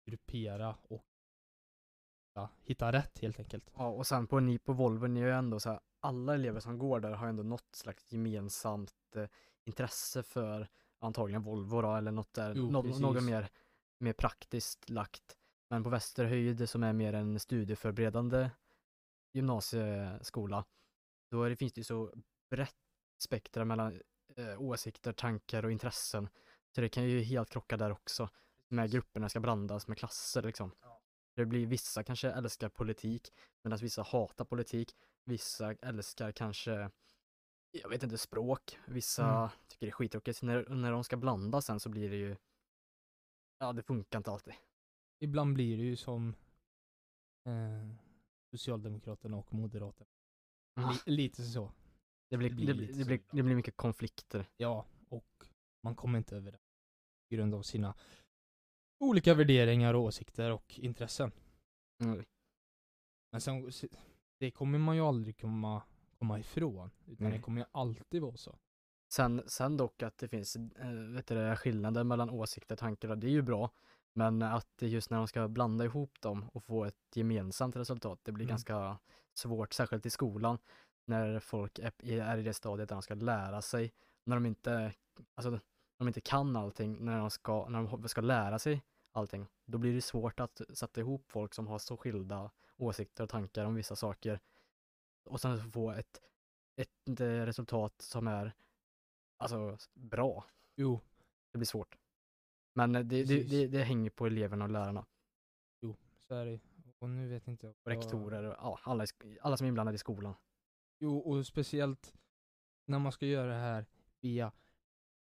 Speaker 1: gruppera och ja, hitta rätt helt enkelt.
Speaker 2: Ja, och sen på ni på Volvo, ni är ju ändå så här, alla elever som går där har ju ändå något slags gemensamt eh, intresse för antagligen Volvo då, eller något där,
Speaker 1: Jo,
Speaker 2: nå-
Speaker 1: precis.
Speaker 2: något mer, mer praktiskt lagt. Men på Västerhöjd som är mer en studieförberedande gymnasieskola, då är det, finns det ju så brett spektra mellan eh, åsikter, tankar och intressen. Så det kan ju helt krocka där också, när grupperna ska blandas med klasser liksom. Det blir vissa kanske älskar politik, medan vissa hatar politik. Vissa älskar kanske, jag vet inte, språk. Vissa
Speaker 1: Mm.
Speaker 2: tycker det är skittråkigt. När, när de ska blanda sen så blir det ju, ja det funkar inte alltid.
Speaker 1: Ibland blir det ju som eh, Socialdemokraterna och Moderaterna.
Speaker 2: Ah.
Speaker 1: Li- lite så.
Speaker 2: Det blir,
Speaker 1: Det
Speaker 2: det,
Speaker 1: blir
Speaker 2: blir det,
Speaker 1: lite
Speaker 2: blir,
Speaker 1: så
Speaker 2: det, blir,
Speaker 1: ibland.
Speaker 2: mycket konflikter.
Speaker 1: Ja, och man kommer inte överens på grund av sina olika värderingar och åsikter och intressen.
Speaker 2: Mm.
Speaker 1: Men sen, det kommer man ju aldrig komma, komma ifrån. Utan
Speaker 2: Nej.
Speaker 1: det kommer ju alltid vara så.
Speaker 2: Sen, sen dock att det finns eh, vet du, det, skillnader mellan åsikter och tankar, det är ju bra. Men att det just när de ska blanda ihop dem och få ett gemensamt resultat, det blir
Speaker 1: Mm.
Speaker 2: ganska svårt, särskilt i skolan, när folk är, är i det stadiet där de ska lära sig, när de inte, alltså, de inte kan allting, när de, ska, när de ska lära sig allting, då blir det svårt att sätta ihop folk som har så skilda åsikter och tankar om vissa saker och sen få ett, ett eh, resultat som är alltså bra.
Speaker 1: Jo,
Speaker 2: Det blir svårt. Men eh, det, det,
Speaker 1: Precis.
Speaker 2: det, det hänger på eleverna och lärarna
Speaker 1: jo, så är det ju. Och nu vet inte jag.
Speaker 2: och rektorer och ja, alla, i sk- alla som är inblandade i skolan.
Speaker 1: Jo, och speciellt när man ska göra det här via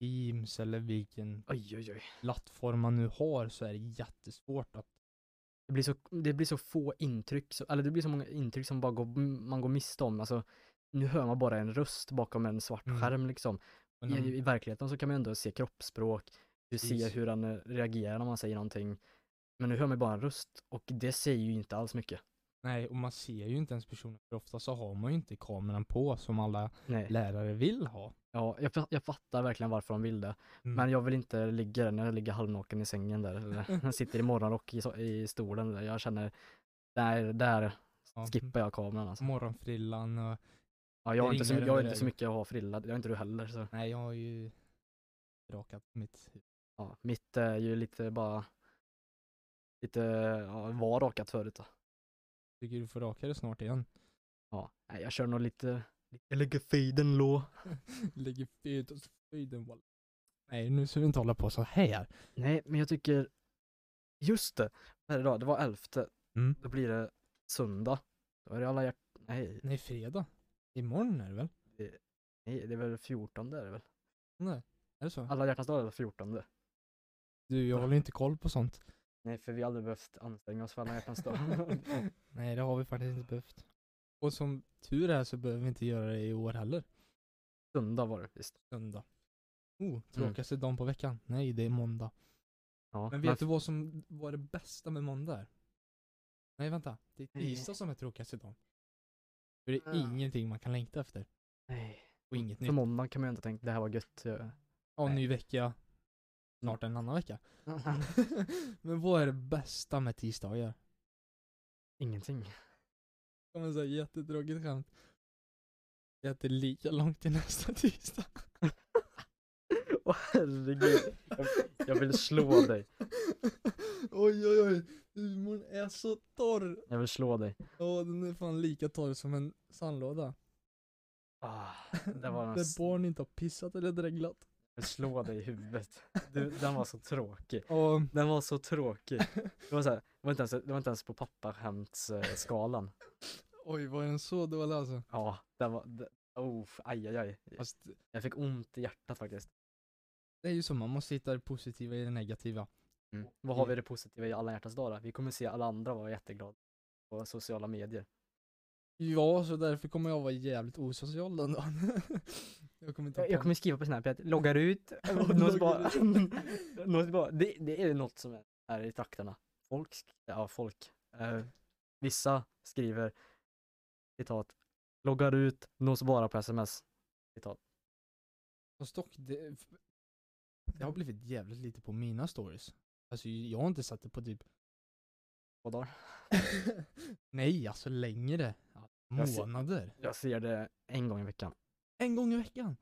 Speaker 1: Teams eller vilken
Speaker 2: Oj, oj, oj.
Speaker 1: plattform man nu har så är det jättesvårt att
Speaker 2: Det blir så, det blir så få intryck, så, eller det blir så många intryck som bara går, man går miste om. Alltså, nu hör man bara en röst bakom en svart
Speaker 1: Mm.
Speaker 2: skärm liksom.
Speaker 1: och
Speaker 2: I,
Speaker 1: när-
Speaker 2: I verkligheten så kan man ändå se kroppsspråk, du ser
Speaker 1: Precis.
Speaker 2: hur han eh, reagerar när man säger någonting. Men nu hör man bara en röst och det säger ju inte alls mycket.
Speaker 1: Nej, och man ser ju inte ens personen för ofta så har man ju inte kameran på som alla
Speaker 2: Nej.
Speaker 1: lärare vill ha.
Speaker 2: Ja, jag, fa- jag fattar verkligen varför de vill det.
Speaker 1: Mm.
Speaker 2: Men jag vill inte ligga där när jag ligger halvnaken i sängen där. Eller när jag sitter i morgonrock i, so- i stolen. Där. Jag känner, där, där
Speaker 1: Ja.
Speaker 2: skippar jag kameran alltså.
Speaker 1: Morgonfrillan och
Speaker 2: Ja, jag, har
Speaker 1: Det
Speaker 2: inte så,
Speaker 1: ringer
Speaker 2: jag har
Speaker 1: över
Speaker 2: inte så
Speaker 1: dig.
Speaker 2: mycket att ha frilla, det har inte du heller. Så.
Speaker 1: nej, jag har ju rakat mitt huvud.
Speaker 2: Ja, mitt är ju lite bara, lite, ja, var rakat förut då.
Speaker 1: Tycker du får raka det snart igen.
Speaker 2: Ja, nej, jag kör nog lite, jag lägger fejden lå.
Speaker 1: Lägger fint åt höjden walla. Nej, nu ska vi inte hålla på så här.
Speaker 2: Nej, men jag tycker, just det, vad är det idag? Det var elfte,
Speaker 1: Mm.
Speaker 2: då blir det söndag. Då är det alla hjärt... Nej,
Speaker 1: Mm. Nej, fredag. Imorgon är det väl?
Speaker 2: nej, det är väl fjortonde är det väl?
Speaker 1: Nej, är det så?
Speaker 2: Alla hjärtans dag är väl fjortonde?
Speaker 1: Du, jag håller inte koll på sånt.
Speaker 2: Nej, för vi har aldrig behövt anstränga oss för alla hjärtans dag.
Speaker 1: Nej, det har vi faktiskt inte behövt. Och som tur är så behöver vi inte göra det i år heller.
Speaker 2: söndag var det visst.
Speaker 1: Söndag. Oh, tråkigaste dagen på veckan. Nej, det är måndag.
Speaker 2: Mm. Ja,
Speaker 1: Men vet du vad som var det bästa med måndag? Nej vänta, det är
Speaker 2: Nej. Ah.
Speaker 1: tisdag som är tråkigast idag. För det är
Speaker 2: Ja.
Speaker 1: ingenting man kan längta efter.
Speaker 2: Nej.
Speaker 1: Och inget
Speaker 2: För
Speaker 1: nytt.
Speaker 2: måndag kan man ju inte tänka, det här var gött. eh, jag-
Speaker 1: Ja,
Speaker 2: nej. Mm.
Speaker 1: ny vecka. Snart en annan vecka. Men vad är det bästa med tisdagar?
Speaker 2: Ingenting.
Speaker 1: Det kommer säga jättetråkigt skämt. Det är att det är lika långt till nästa tisdag.
Speaker 2: Åh herregud. Jag, jag vill slå dig.
Speaker 1: Oj oj oj, humorn är så torr.
Speaker 2: Jag vill slå dig.
Speaker 1: Ja, den är fan lika torr som en sandlåda.
Speaker 2: Ah, det var en
Speaker 1: Där
Speaker 2: s-
Speaker 1: barn inte har pissat eller dreglat.
Speaker 2: jag vill slå dig i huvudet. Du, den var så tråkig.
Speaker 1: Ja,
Speaker 2: Den var så tråkig. Det var, så här, det var, inte, ens, det var inte ens på pappaskämtsskalan.
Speaker 1: oj var den så dålig alltså?
Speaker 2: Ja, den var, det, oh, aj, aj, aj.
Speaker 1: Fast
Speaker 2: Jag fick ont i hjärtat faktiskt.
Speaker 1: det är ju så, man måste hitta det positiva i det negativa.
Speaker 2: Vad har vi det positiva i alla hjärtans dag då? Vi kommer se alla andra vara jätteglada på sociala medier.
Speaker 1: Ja, så därför kommer jag vara jävligt osocial den dagen. jag kommer inte ha
Speaker 2: Jag, jag
Speaker 1: plan.
Speaker 2: kommer skriva på Snapchat, loggar ut,
Speaker 1: Loggar
Speaker 2: nås bara,
Speaker 1: ut.
Speaker 2: nås bara. Det, det är något som är här i trakterna. Folk, sk- ja folk, eh, vissa skriver, citat, loggar ut, nås bara på sms, citat.
Speaker 1: Fast dock, det, det
Speaker 2: Mm.
Speaker 1: har blivit jävligt lite på mina stories. Alltså jag har inte satt det på typ
Speaker 2: Två dagar.
Speaker 1: Nej, alltså längre.
Speaker 2: Jag ser-
Speaker 1: Månader.
Speaker 2: Jag ser det en gång i veckan.
Speaker 1: En gång i veckan.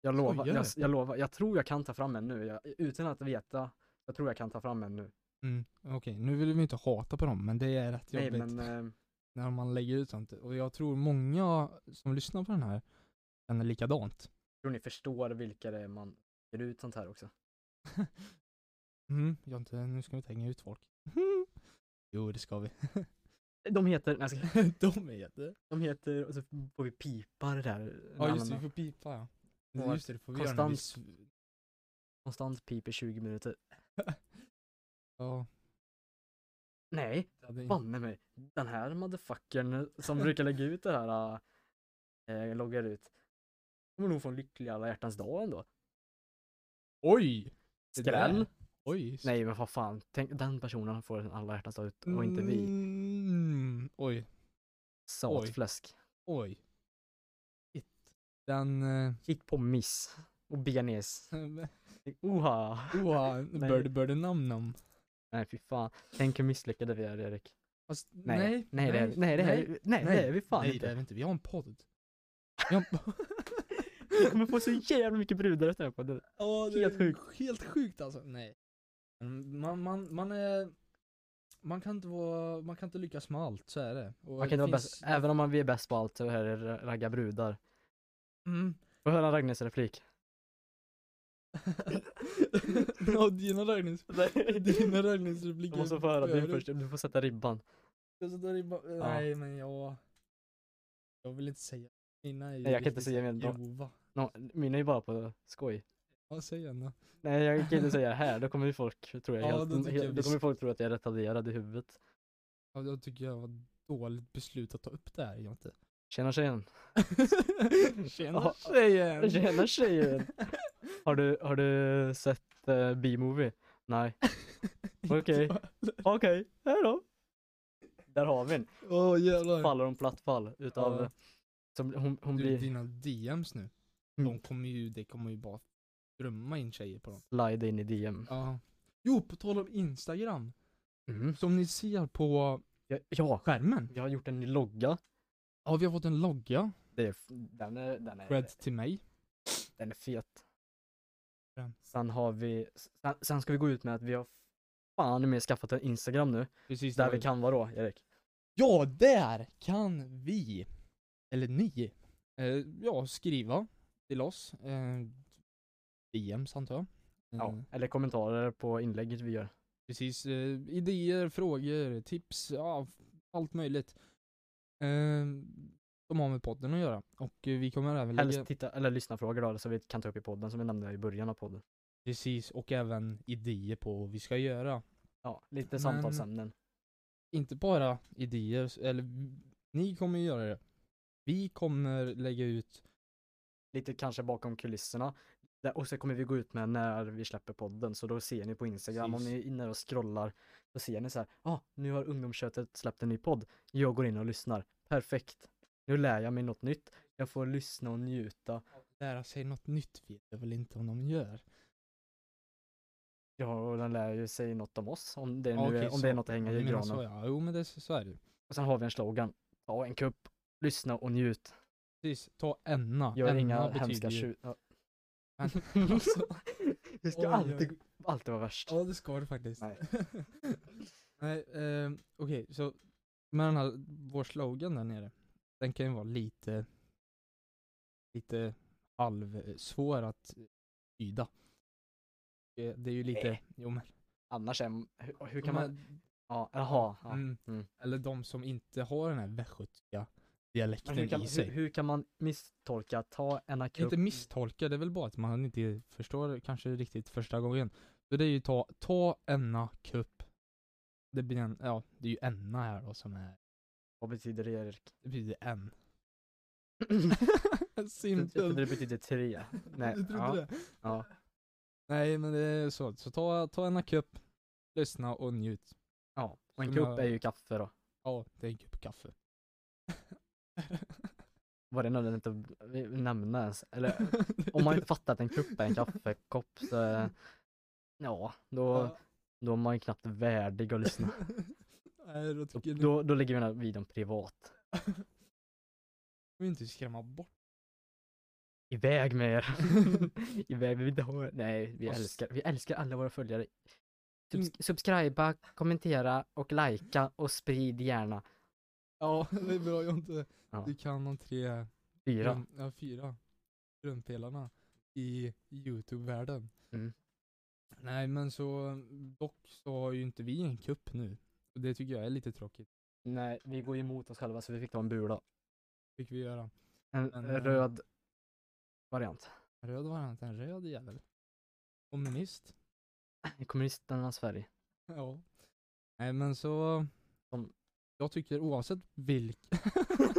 Speaker 2: Jag lovar,
Speaker 1: Skojar
Speaker 2: jag,
Speaker 1: du?
Speaker 2: jag lovar, jag tror jag kan ta fram en nu, jag, utan att veta, jag tror jag kan ta fram en nu.
Speaker 1: Mm, Okej, nu vill vi inte hata på dem, men det är rätt
Speaker 2: Nej
Speaker 1: jobbigt
Speaker 2: men, eh,
Speaker 1: när man lägger ut sånt. Och jag tror många som lyssnar på den här känner likadant.
Speaker 2: tror ni förstår vilka det är man ger ut sånt här också?
Speaker 1: Mm, jag inte, nu ska vi inte hänga ut folk. Mm. jo, det ska vi.
Speaker 2: De heter, nej, jag ska-
Speaker 1: De är jätte...
Speaker 2: De heter, och så får vi pipa det där. en
Speaker 1: Ja just
Speaker 2: annan
Speaker 1: det,
Speaker 2: dag.
Speaker 1: vi får pipa ja.
Speaker 2: Och
Speaker 1: Just det, det får vi göra när vi...
Speaker 2: konstant-
Speaker 1: sv-
Speaker 2: Konstant pip i 20 minuter.
Speaker 1: Ja,
Speaker 2: Nej,
Speaker 1: det hade inte...
Speaker 2: banne mig. Den här motherfuckern som brukar lägga ut det här, äh, loggar ut. Kommer nog få en lycklig alla hjärtans dag ändå.
Speaker 1: Oj! Det där.
Speaker 2: Skräll?
Speaker 1: Oj.
Speaker 2: Nej men vad fan, tänk den personen får en alla hjärtans dag ut och inte vi.
Speaker 1: Mm, oj.
Speaker 2: Satfläsk.
Speaker 1: Oj. Shit. Den... eh,
Speaker 2: Gick på miss. Och benes. Oha.
Speaker 1: Oha,
Speaker 2: Nej.
Speaker 1: börde börde namn om.
Speaker 2: Nej fy fan. Tänk hur misslyckade vi är Erik.
Speaker 1: Fast,
Speaker 2: Nej, nej, nej, det, är, vi- nej, det, är, vi- nej, nej det är vi fan
Speaker 1: nej,
Speaker 2: inte.
Speaker 1: det är vi inte. Vi har en podd. Vi har en...
Speaker 2: Vi kommer få så jävla mycket brudar efter den här podden.
Speaker 1: Ja, det
Speaker 2: Helt
Speaker 1: är
Speaker 2: sjukt.
Speaker 1: Helt sjukt alltså. Nej. Man, man, man är... Man kan inte vara, man kan inte lyckas med allt, så är det. Och
Speaker 2: Man
Speaker 1: det
Speaker 2: kan inte vara
Speaker 1: finns-
Speaker 2: bäst, även om man, vi är bäst på allt så här är det ragga brudar.
Speaker 1: Mm.
Speaker 2: Får jag höra Ragnes replik?
Speaker 1: ja, dina raggningsrepliker. Dina raggningsrepliker.
Speaker 2: Du måste få höra din
Speaker 1: före-
Speaker 2: först, du får sätta ribban.
Speaker 1: Jag satt där i ba- eh, Nej men jag... Jag vill inte säga mina är ju
Speaker 2: Nej, jag kan inte
Speaker 1: riktigt
Speaker 2: säga mina.
Speaker 1: grova.
Speaker 2: No, mina är ju bara på skoj.
Speaker 1: Ja säg en då.
Speaker 2: Nej jag kan inte säga det här, då kommer ju folk, tror jag,
Speaker 1: Ja,
Speaker 2: helt,
Speaker 1: då tycker jag
Speaker 2: helt,
Speaker 1: vi
Speaker 2: då kommer folk tro att jag är retarderad i huvudet.
Speaker 1: Ja, jag tycker jag var ett dåligt beslut att ta upp det här Jonte.
Speaker 2: Tjena tjejen!
Speaker 1: Tjena
Speaker 2: Ja.
Speaker 1: tjejen!
Speaker 2: Tjena tjejen! Har du, har du sett eh, B-movie? Nej. Okej. Okej, hejdå! Där har vi en.
Speaker 1: Åh jävlar.
Speaker 2: Faller hon platt fall utav,
Speaker 1: Ja.
Speaker 2: som, hon, hon
Speaker 1: Du,
Speaker 2: blir
Speaker 1: dina DMs nu. De
Speaker 2: Mm.
Speaker 1: kommer ju, det kommer ju bara drömma in tjejer på dem.
Speaker 2: slide in i DM.
Speaker 1: Ja. Jo, på tal om Instagram.
Speaker 2: Mm.
Speaker 1: Som ni ser på
Speaker 2: Ja, ja,
Speaker 1: skärmen.
Speaker 2: jag har gjort en ny logga.
Speaker 1: Ja, vi har fått en logga.
Speaker 2: Det är, f- den, är, den, är,
Speaker 1: Red till mig.
Speaker 2: den är fet.
Speaker 1: Den.
Speaker 2: Sen har vi, sen, sen ska vi gå ut med att vi har fan med skaffat en Instagram nu.
Speaker 1: Precis
Speaker 2: Där
Speaker 1: vad
Speaker 2: vi
Speaker 1: jag-
Speaker 2: kan vara då, Erik.
Speaker 1: Ja, där kan vi, eller ni, eh, ja, skriva till oss. Eh, DMs antar jag.
Speaker 2: Ja.
Speaker 1: Eh,
Speaker 2: Eller kommentarer på inlägget vi gör.
Speaker 1: precis. Eh, idéer, frågor, tips, ja, f- allt möjligt. Eh, som har med podden att göra. Och eh, vi kommer även lägga,
Speaker 2: Helst titta, eller lyssna frågor då, så vi kan ta upp i podden som vi nämnde i början av podden.
Speaker 1: precis, och även idéer på vad vi ska göra.
Speaker 2: Ja, lite
Speaker 1: Men-
Speaker 2: samtalsämnen.
Speaker 1: Inte bara idéer, s- eller v- ni kommer ju göra det. Vi kommer lägga ut
Speaker 2: Lite kanske bakom kulisserna. Där, och så kommer vi gå ut med när vi släpper podden, så då ser ni på Instagram,
Speaker 1: Precis.
Speaker 2: om ni är inne och scrollar, då ser ni så här, ah, nu har ungdomsköttet släppt en ny podd, jag går in och lyssnar, perfekt, nu lär jag mig något nytt, jag får lyssna och njuta,
Speaker 1: Lära sig något nytt vet jag väl inte om de gör.
Speaker 2: ja, och den lär ju sig något om oss, om det, nu
Speaker 1: Ja, okej,
Speaker 2: är, om det är
Speaker 1: så.
Speaker 2: något att hänga
Speaker 1: Ja, du
Speaker 2: i
Speaker 1: menar
Speaker 2: granen.
Speaker 1: så ja. Jo men det, så så är det ju.
Speaker 2: Och sen har vi en slogan, ta en kupp, lyssna och njut,
Speaker 1: Precis, ta enna.
Speaker 2: gör
Speaker 1: enna
Speaker 2: inga
Speaker 1: betyder
Speaker 2: hemska
Speaker 1: ju-
Speaker 2: tjut. Ja.
Speaker 1: Men, alltså,
Speaker 2: Det ska
Speaker 1: oj, oj.
Speaker 2: alltid, alltid vara värst.
Speaker 1: Ja det ska det faktiskt.
Speaker 2: Nej.
Speaker 1: Nej, ehm, okej så med den här, vår slogan där nere, den kan ju vara lite, lite halvsvår att tyda. Eh, Det är ju lite,
Speaker 2: Nej.
Speaker 1: jo men,
Speaker 2: Annars är, hur, hur
Speaker 1: jo,
Speaker 2: kan man,
Speaker 1: men,
Speaker 2: ja, jaha, ja.
Speaker 1: mm,
Speaker 2: mm.
Speaker 1: eller de som inte har den här västgötska dialekten
Speaker 2: Men hur, kan,
Speaker 1: i
Speaker 2: hur,
Speaker 1: sig.
Speaker 2: hur kan man misstolka ta en akup?
Speaker 1: Inte misstolka, det är väl bara att man inte förstår kanske riktigt första gången. Så det är ju ta, ta enna kupp. Det blir en, ja, det är ju enna här då som är
Speaker 2: Vad betyder det Erik?
Speaker 1: Det betyder en.
Speaker 2: Jag trodde
Speaker 1: Simpel.
Speaker 2: det betyder tre. Nej,
Speaker 1: Du trodde
Speaker 2: ja.
Speaker 1: det?
Speaker 2: Ja.
Speaker 1: Nej men det är så. Så ta, ta en kupp, lyssna och njut.
Speaker 2: Ja, och en
Speaker 1: Som
Speaker 2: kupp
Speaker 1: jag-
Speaker 2: är ju kaffe då.
Speaker 1: Ja, det är en kupp kaffe.
Speaker 2: Var det nödvändigt att v- nämna ens? Eller om man inte fattar att en kupp är en kaffekopp så, eh, ja, då,
Speaker 1: Ja.
Speaker 2: då är man ju knappt värdig att lyssna.
Speaker 1: Nej, då
Speaker 2: Då,
Speaker 1: tycker jag
Speaker 2: då, då lägger vi den här videon privat.
Speaker 1: vi inte skrämma bort.
Speaker 2: Iväg med er! Iväg, vi vill inte ha er. Nej, vi
Speaker 1: Fast-
Speaker 2: älskar, vi älskar alla våra följare. Subs-
Speaker 1: Mm.
Speaker 2: subscriba, kommentera och likea och sprid gärna.
Speaker 1: Ja, det är bra Jonte.
Speaker 2: Ja.
Speaker 1: Du kan de tre,
Speaker 2: Fyra.
Speaker 1: grund- ja, fyra grundpelarna i Youtube-världen.
Speaker 2: Mm.
Speaker 1: Nej men så, dock så har ju inte vi en kupp nu. Och det tycker jag är lite tråkigt.
Speaker 2: Nej, vi går ju emot oss själva så vi fick ta en bula.
Speaker 1: Fick vi göra.
Speaker 2: En
Speaker 1: Men, eh,
Speaker 2: röd variant.
Speaker 1: En Röd var han inte, en röd jävel. Kommunist.
Speaker 2: I kommunisternas Sverige.
Speaker 1: Ja. Nej men så,
Speaker 2: Som-
Speaker 1: jag tycker oavsett vilk,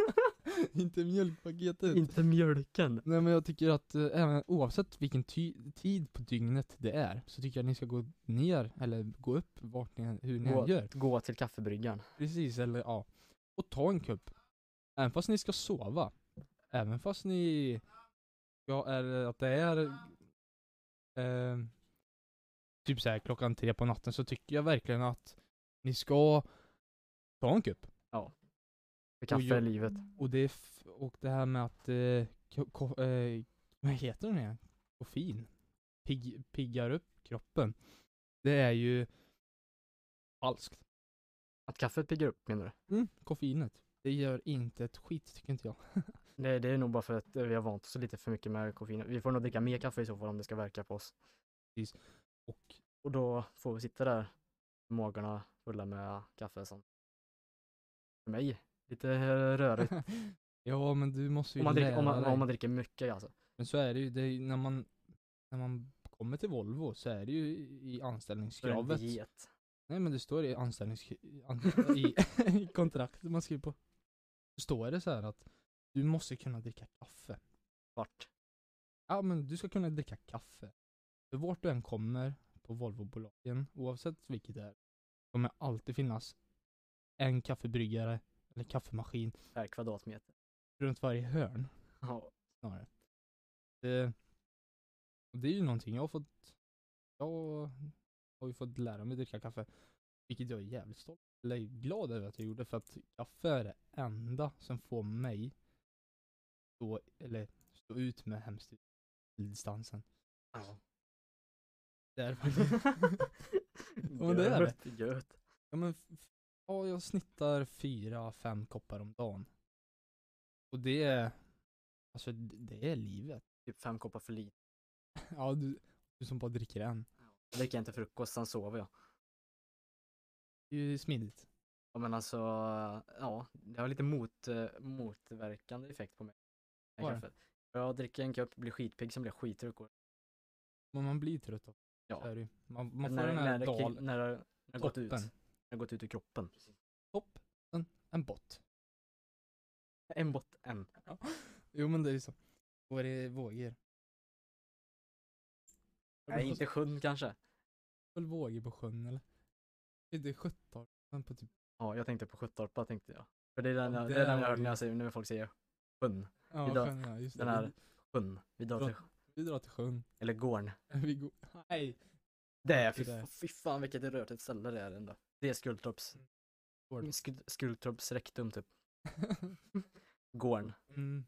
Speaker 1: inte mjölkpaketet.
Speaker 2: Inte mjölken.
Speaker 1: Nej men jag tycker att eh, även oavsett vilken ty- tid på dygnet det är så tycker jag att ni ska gå ner eller gå upp vart ni, än- hur ni än
Speaker 2: Gå,
Speaker 1: gör.
Speaker 2: gå till kaffebryggaren.
Speaker 1: Precis, eller ja. Och ta en kupp. Även fast ni ska sova. Även fast ni... Ja, eller att det är... Eh, typ så här klockan tre på natten så tycker jag verkligen att ni ska ta en kupp.
Speaker 2: För kaffe
Speaker 1: jag-
Speaker 2: är livet.
Speaker 1: Och det, är f- och det här med att... Eh, ko- ko- eh, vad heter den igen? Koffein. Pigg, piggar upp kroppen. Det är ju falskt.
Speaker 2: Att kaffet piggar upp menar du?
Speaker 1: Mm, koffeinet. Det gör inte ett skit tycker inte jag.
Speaker 2: Nej, det är nog bara för att eh, vi har vant oss lite för mycket med koffein. Vi får nog dricka mer kaffe i så fall om det ska verka på oss.
Speaker 1: Och
Speaker 2: Och då får vi sitta där med magarna fulla med kaffe som för mig lite eh, rörigt.
Speaker 1: ja men du måste ju
Speaker 2: Om man, dricker,
Speaker 1: lära
Speaker 2: om, man,
Speaker 1: dig.
Speaker 2: om man dricker mycket alltså.
Speaker 1: Men så är det ju, det är, ju när man när man kommer till Volvo så är det ju i
Speaker 2: För en
Speaker 1: anställningskravet.
Speaker 2: diet.
Speaker 1: Nej men det står i anställnings an, i, i kontraktet man skriver på. Så står det så här att du måste kunna dricka kaffe.
Speaker 2: Vart?
Speaker 1: Ja men du ska kunna dricka kaffe. För vart du än kommer på Volvobolagen, oavsett vilket det är, kommer alltid finnas en kaffebryggare eller kaffemaskin
Speaker 2: Per kvadratmeter.
Speaker 1: runt varje hörn.
Speaker 2: Ja.
Speaker 1: snarare. Det, och det är ju någonting jag har fått, jag har ju fått lära mig att dricka kaffe. Vilket jag är jävligt stolt eller glad över att jag gjorde för att kaffe är det enda som får mig stå, eller stå ut med hemstildistansen.
Speaker 2: ja.
Speaker 1: Det är faktiskt, Ja, men det är det.
Speaker 2: Gött, Gött.
Speaker 1: ja men, f- f- ja jag snittar fyra, fem koppar om dagen. Och det är, alltså det det är livet.
Speaker 2: Typ fem koppar för lite.
Speaker 1: Ja du, du som bara dricker en.
Speaker 2: Jag dricker inte frukost, sen sover jag.
Speaker 1: Det är ju smidigt.
Speaker 2: Ja, men alltså, ja, det har lite mot, eh, motverkande effekt på mig. Det
Speaker 1: Har det?
Speaker 2: kaffet. Jag dricker en kopp, blir skitpigg, sen blir jag skittrött. och-
Speaker 1: Men man blir trött då.
Speaker 2: Ja.
Speaker 1: Så är det ju. Man, man får
Speaker 2: När,
Speaker 1: den här
Speaker 2: när, det, kri-
Speaker 1: dal,
Speaker 2: när, det- när det gått ut.
Speaker 1: toppen.
Speaker 2: När det gått ut ur kroppen.
Speaker 1: topp, en, en bott.
Speaker 2: En bott, en.
Speaker 1: Jo men det är ju så. Går i vågor.
Speaker 2: Nej, inte sjön kanske.
Speaker 1: Full vågor på sjön eller? Det är inte 17 men på typ,
Speaker 2: Ja, jag tänkte på Sjuttorpa tänkte jag. För det är den,
Speaker 1: Ja,
Speaker 2: jag, det är den
Speaker 1: där
Speaker 2: jag hörde
Speaker 1: ju.
Speaker 2: när, jag säger, när folk säger sjön.
Speaker 1: ja
Speaker 2: Idag,
Speaker 1: sjön ja, just
Speaker 2: Den
Speaker 1: det.
Speaker 2: här sjön. Vi drar
Speaker 1: Dra-
Speaker 2: till,
Speaker 1: Vi drar till sjön.
Speaker 2: eller gården.
Speaker 1: Vi går, nej.
Speaker 2: Det är,
Speaker 1: Till
Speaker 2: fy,
Speaker 1: det.
Speaker 2: fy fan Mm. vilket rörigt ställe det är ändå. Det är Skultorps,
Speaker 1: Gården.
Speaker 2: Skul- Skultorps rektum typ. Gården.
Speaker 1: mm.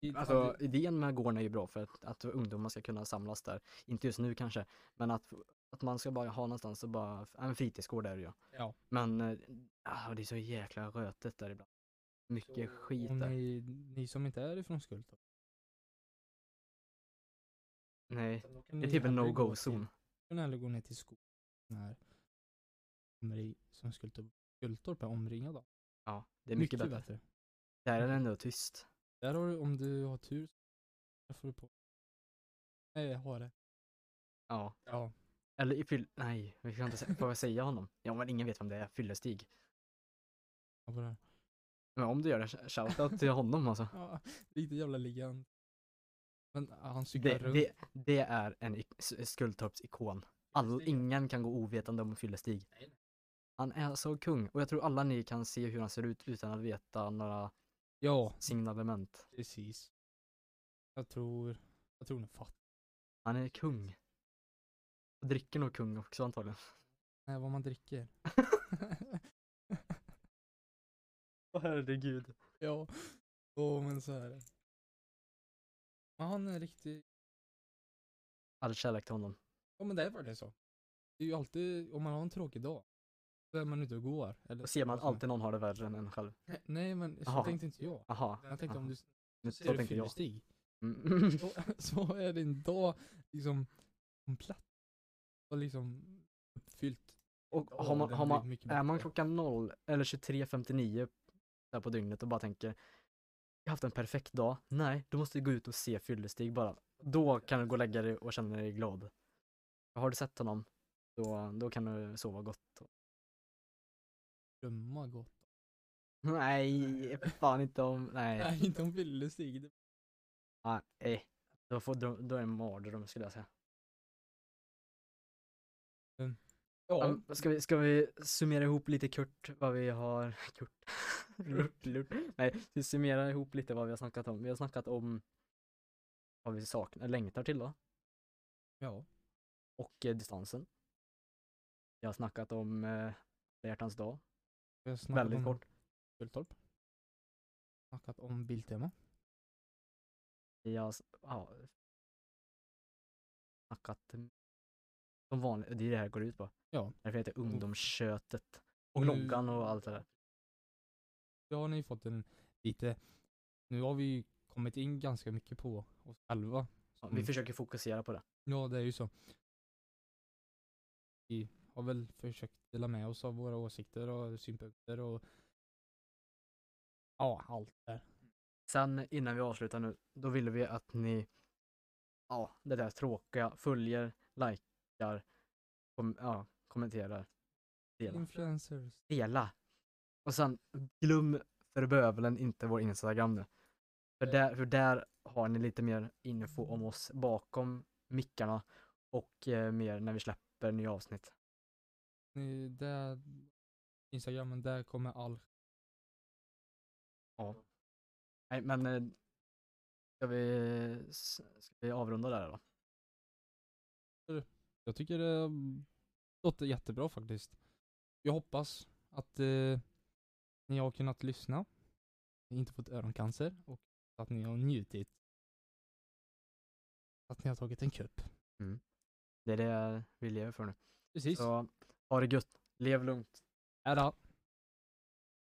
Speaker 1: I-
Speaker 2: Alltså idén med gården är ju bra för att, att ungdomar ska kunna samlas där. Inte just nu kanske, men att, att man ska bara ha någonstans och bara, ja, en fritidsgård är det ju.
Speaker 1: Ja.
Speaker 2: Men, eh, ah, det är så jäkla rötet där ibland. Mycket skit
Speaker 1: och
Speaker 2: där.
Speaker 1: ni,
Speaker 2: Nej.
Speaker 1: ni som inte är ifrån Skultorp.
Speaker 2: Det är typ en no-go-zon.
Speaker 1: kan hellre gå ner till skogen när omring, som Skultorp, Skultorp är omringad av.
Speaker 2: Ja, det är mycket, bättre. Där är det ändå tyst.
Speaker 1: Där har du, om du har tur, där får du på. Nej, jag har det.
Speaker 2: Ja.
Speaker 1: Ja.
Speaker 2: Eller i fyll... Nej, vi kan inte sä- får jag säga honom? Ja, men ingen vet vem det är. Fyllestig.
Speaker 1: jag får det här.
Speaker 2: Men om du gör det, sh- shoutout till honom alltså.
Speaker 1: Ja, riktigt jävla legend. Men ja, han cyklar
Speaker 2: Det,
Speaker 1: runt.
Speaker 2: det, det är en ik- s- Skultorps-ikon. All,
Speaker 1: Fyllestig, ja.
Speaker 2: ingen kan gå ovetande om Fyllestig.
Speaker 1: Nej, nej.
Speaker 2: Han är så kung. Och jag tror alla ni kan se hur han ser ut utan att veta några
Speaker 1: Ja,
Speaker 2: signalement.
Speaker 1: precis. Jag tror, jag tror ni fattar
Speaker 2: Han är kung. Och dricker nog kung också antagligen.
Speaker 1: Nej, vad man dricker.
Speaker 2: Åh herregud.
Speaker 1: ja, åh men så är det. Men han är riktigt,
Speaker 2: All kärlek till honom.
Speaker 1: ja men det är bara det så. Det är ju alltid, om man har en tråkig dag, då är man ute och går. Eller
Speaker 2: Då ser man
Speaker 1: vad som är.
Speaker 2: alltid någon har det värre än en själv.
Speaker 1: Nej men så
Speaker 2: Jaha.
Speaker 1: tänkte inte jag.
Speaker 2: Aha.
Speaker 1: Jag tänkte om du
Speaker 2: Nu,
Speaker 1: ser
Speaker 2: så
Speaker 1: du
Speaker 2: tänker jag.
Speaker 1: fyllestig,
Speaker 2: Mm.
Speaker 1: så, så är din dag liksom komplett. Och liksom uppfyllt.
Speaker 2: Och
Speaker 1: Ja,
Speaker 2: har man,
Speaker 1: den
Speaker 2: har
Speaker 1: blir
Speaker 2: man,
Speaker 1: mycket
Speaker 2: är man
Speaker 1: bättre.
Speaker 2: klockan 0 eller 23.59 där på dygnet och bara tänker jag har haft en perfekt dag. Nej, du måste gå ut och se Fyllestig bara. Då kan du gå och lägga dig och känna dig glad. Har du sett honom, då, då kan du sova gott.
Speaker 1: Drömma gott.
Speaker 2: Nej, fan inte om, nej.
Speaker 1: Nej, inte om fyllestig. Det-
Speaker 2: nej. Då, får, då, då är det en mardröm skulle jag säga.
Speaker 1: Ja,
Speaker 2: Um, Ska vi, ska vi summera ihop lite kort vad vi har... Kurt. Lurt, lurt. Nej, vi summerar ihop lite vad vi har snackat om. Vi har snackat om vad vi saknar, längtar till då,
Speaker 1: ja.
Speaker 2: och eh, distansen. Vi har snackat om eh, Alla hjärtans dag,
Speaker 1: Vi har snackat
Speaker 2: väldigt
Speaker 1: om
Speaker 2: kort.
Speaker 1: Skultorp. Snackat om Biltema.
Speaker 2: Vi har s- ja, snackat mm, som vanligt, det är det här går ut på.
Speaker 1: Ja.
Speaker 2: Därför heter det
Speaker 1: Och- Mm.
Speaker 2: ungdomskötet och
Speaker 1: och nu-
Speaker 2: loggan och allt det där.
Speaker 1: Då har ni fått en lite, nu har vi ju kommit in ganska mycket på oss själva.
Speaker 2: Ja, Vi
Speaker 1: Mm.
Speaker 2: försöker fokusera på det.
Speaker 1: Ja, det är ju så. Vi har väl försökt dela med oss av våra åsikter och synpunkter och ja, allt där.
Speaker 2: Sen innan vi avslutar nu, då ville vi att ni, ja, det där tråkiga, följer, likar, kom, ja, kommenterar, delar.
Speaker 1: Influencers.
Speaker 2: Dela! Och sen, glöm för bövelen inte vår Instagram nu. För där, för där har ni lite mer info om oss bakom mickarna och eh, mer när vi släpper nya avsnitt.
Speaker 1: Ni, där, Instagramen, där kommer all
Speaker 2: Ja. Nej, men eh, ska vi, ska vi avrunda där då?
Speaker 1: Jag tycker det mm, låter jättebra faktiskt. Jag hoppas att eh, ni har kunnat lyssna, ni inte fått öroncancer och att ni har njutit. Att ni har tagit en kupp.
Speaker 2: Det är det vi lever för nu.
Speaker 1: Precis.
Speaker 2: Så ha det gött, lev lugnt.
Speaker 1: Ära.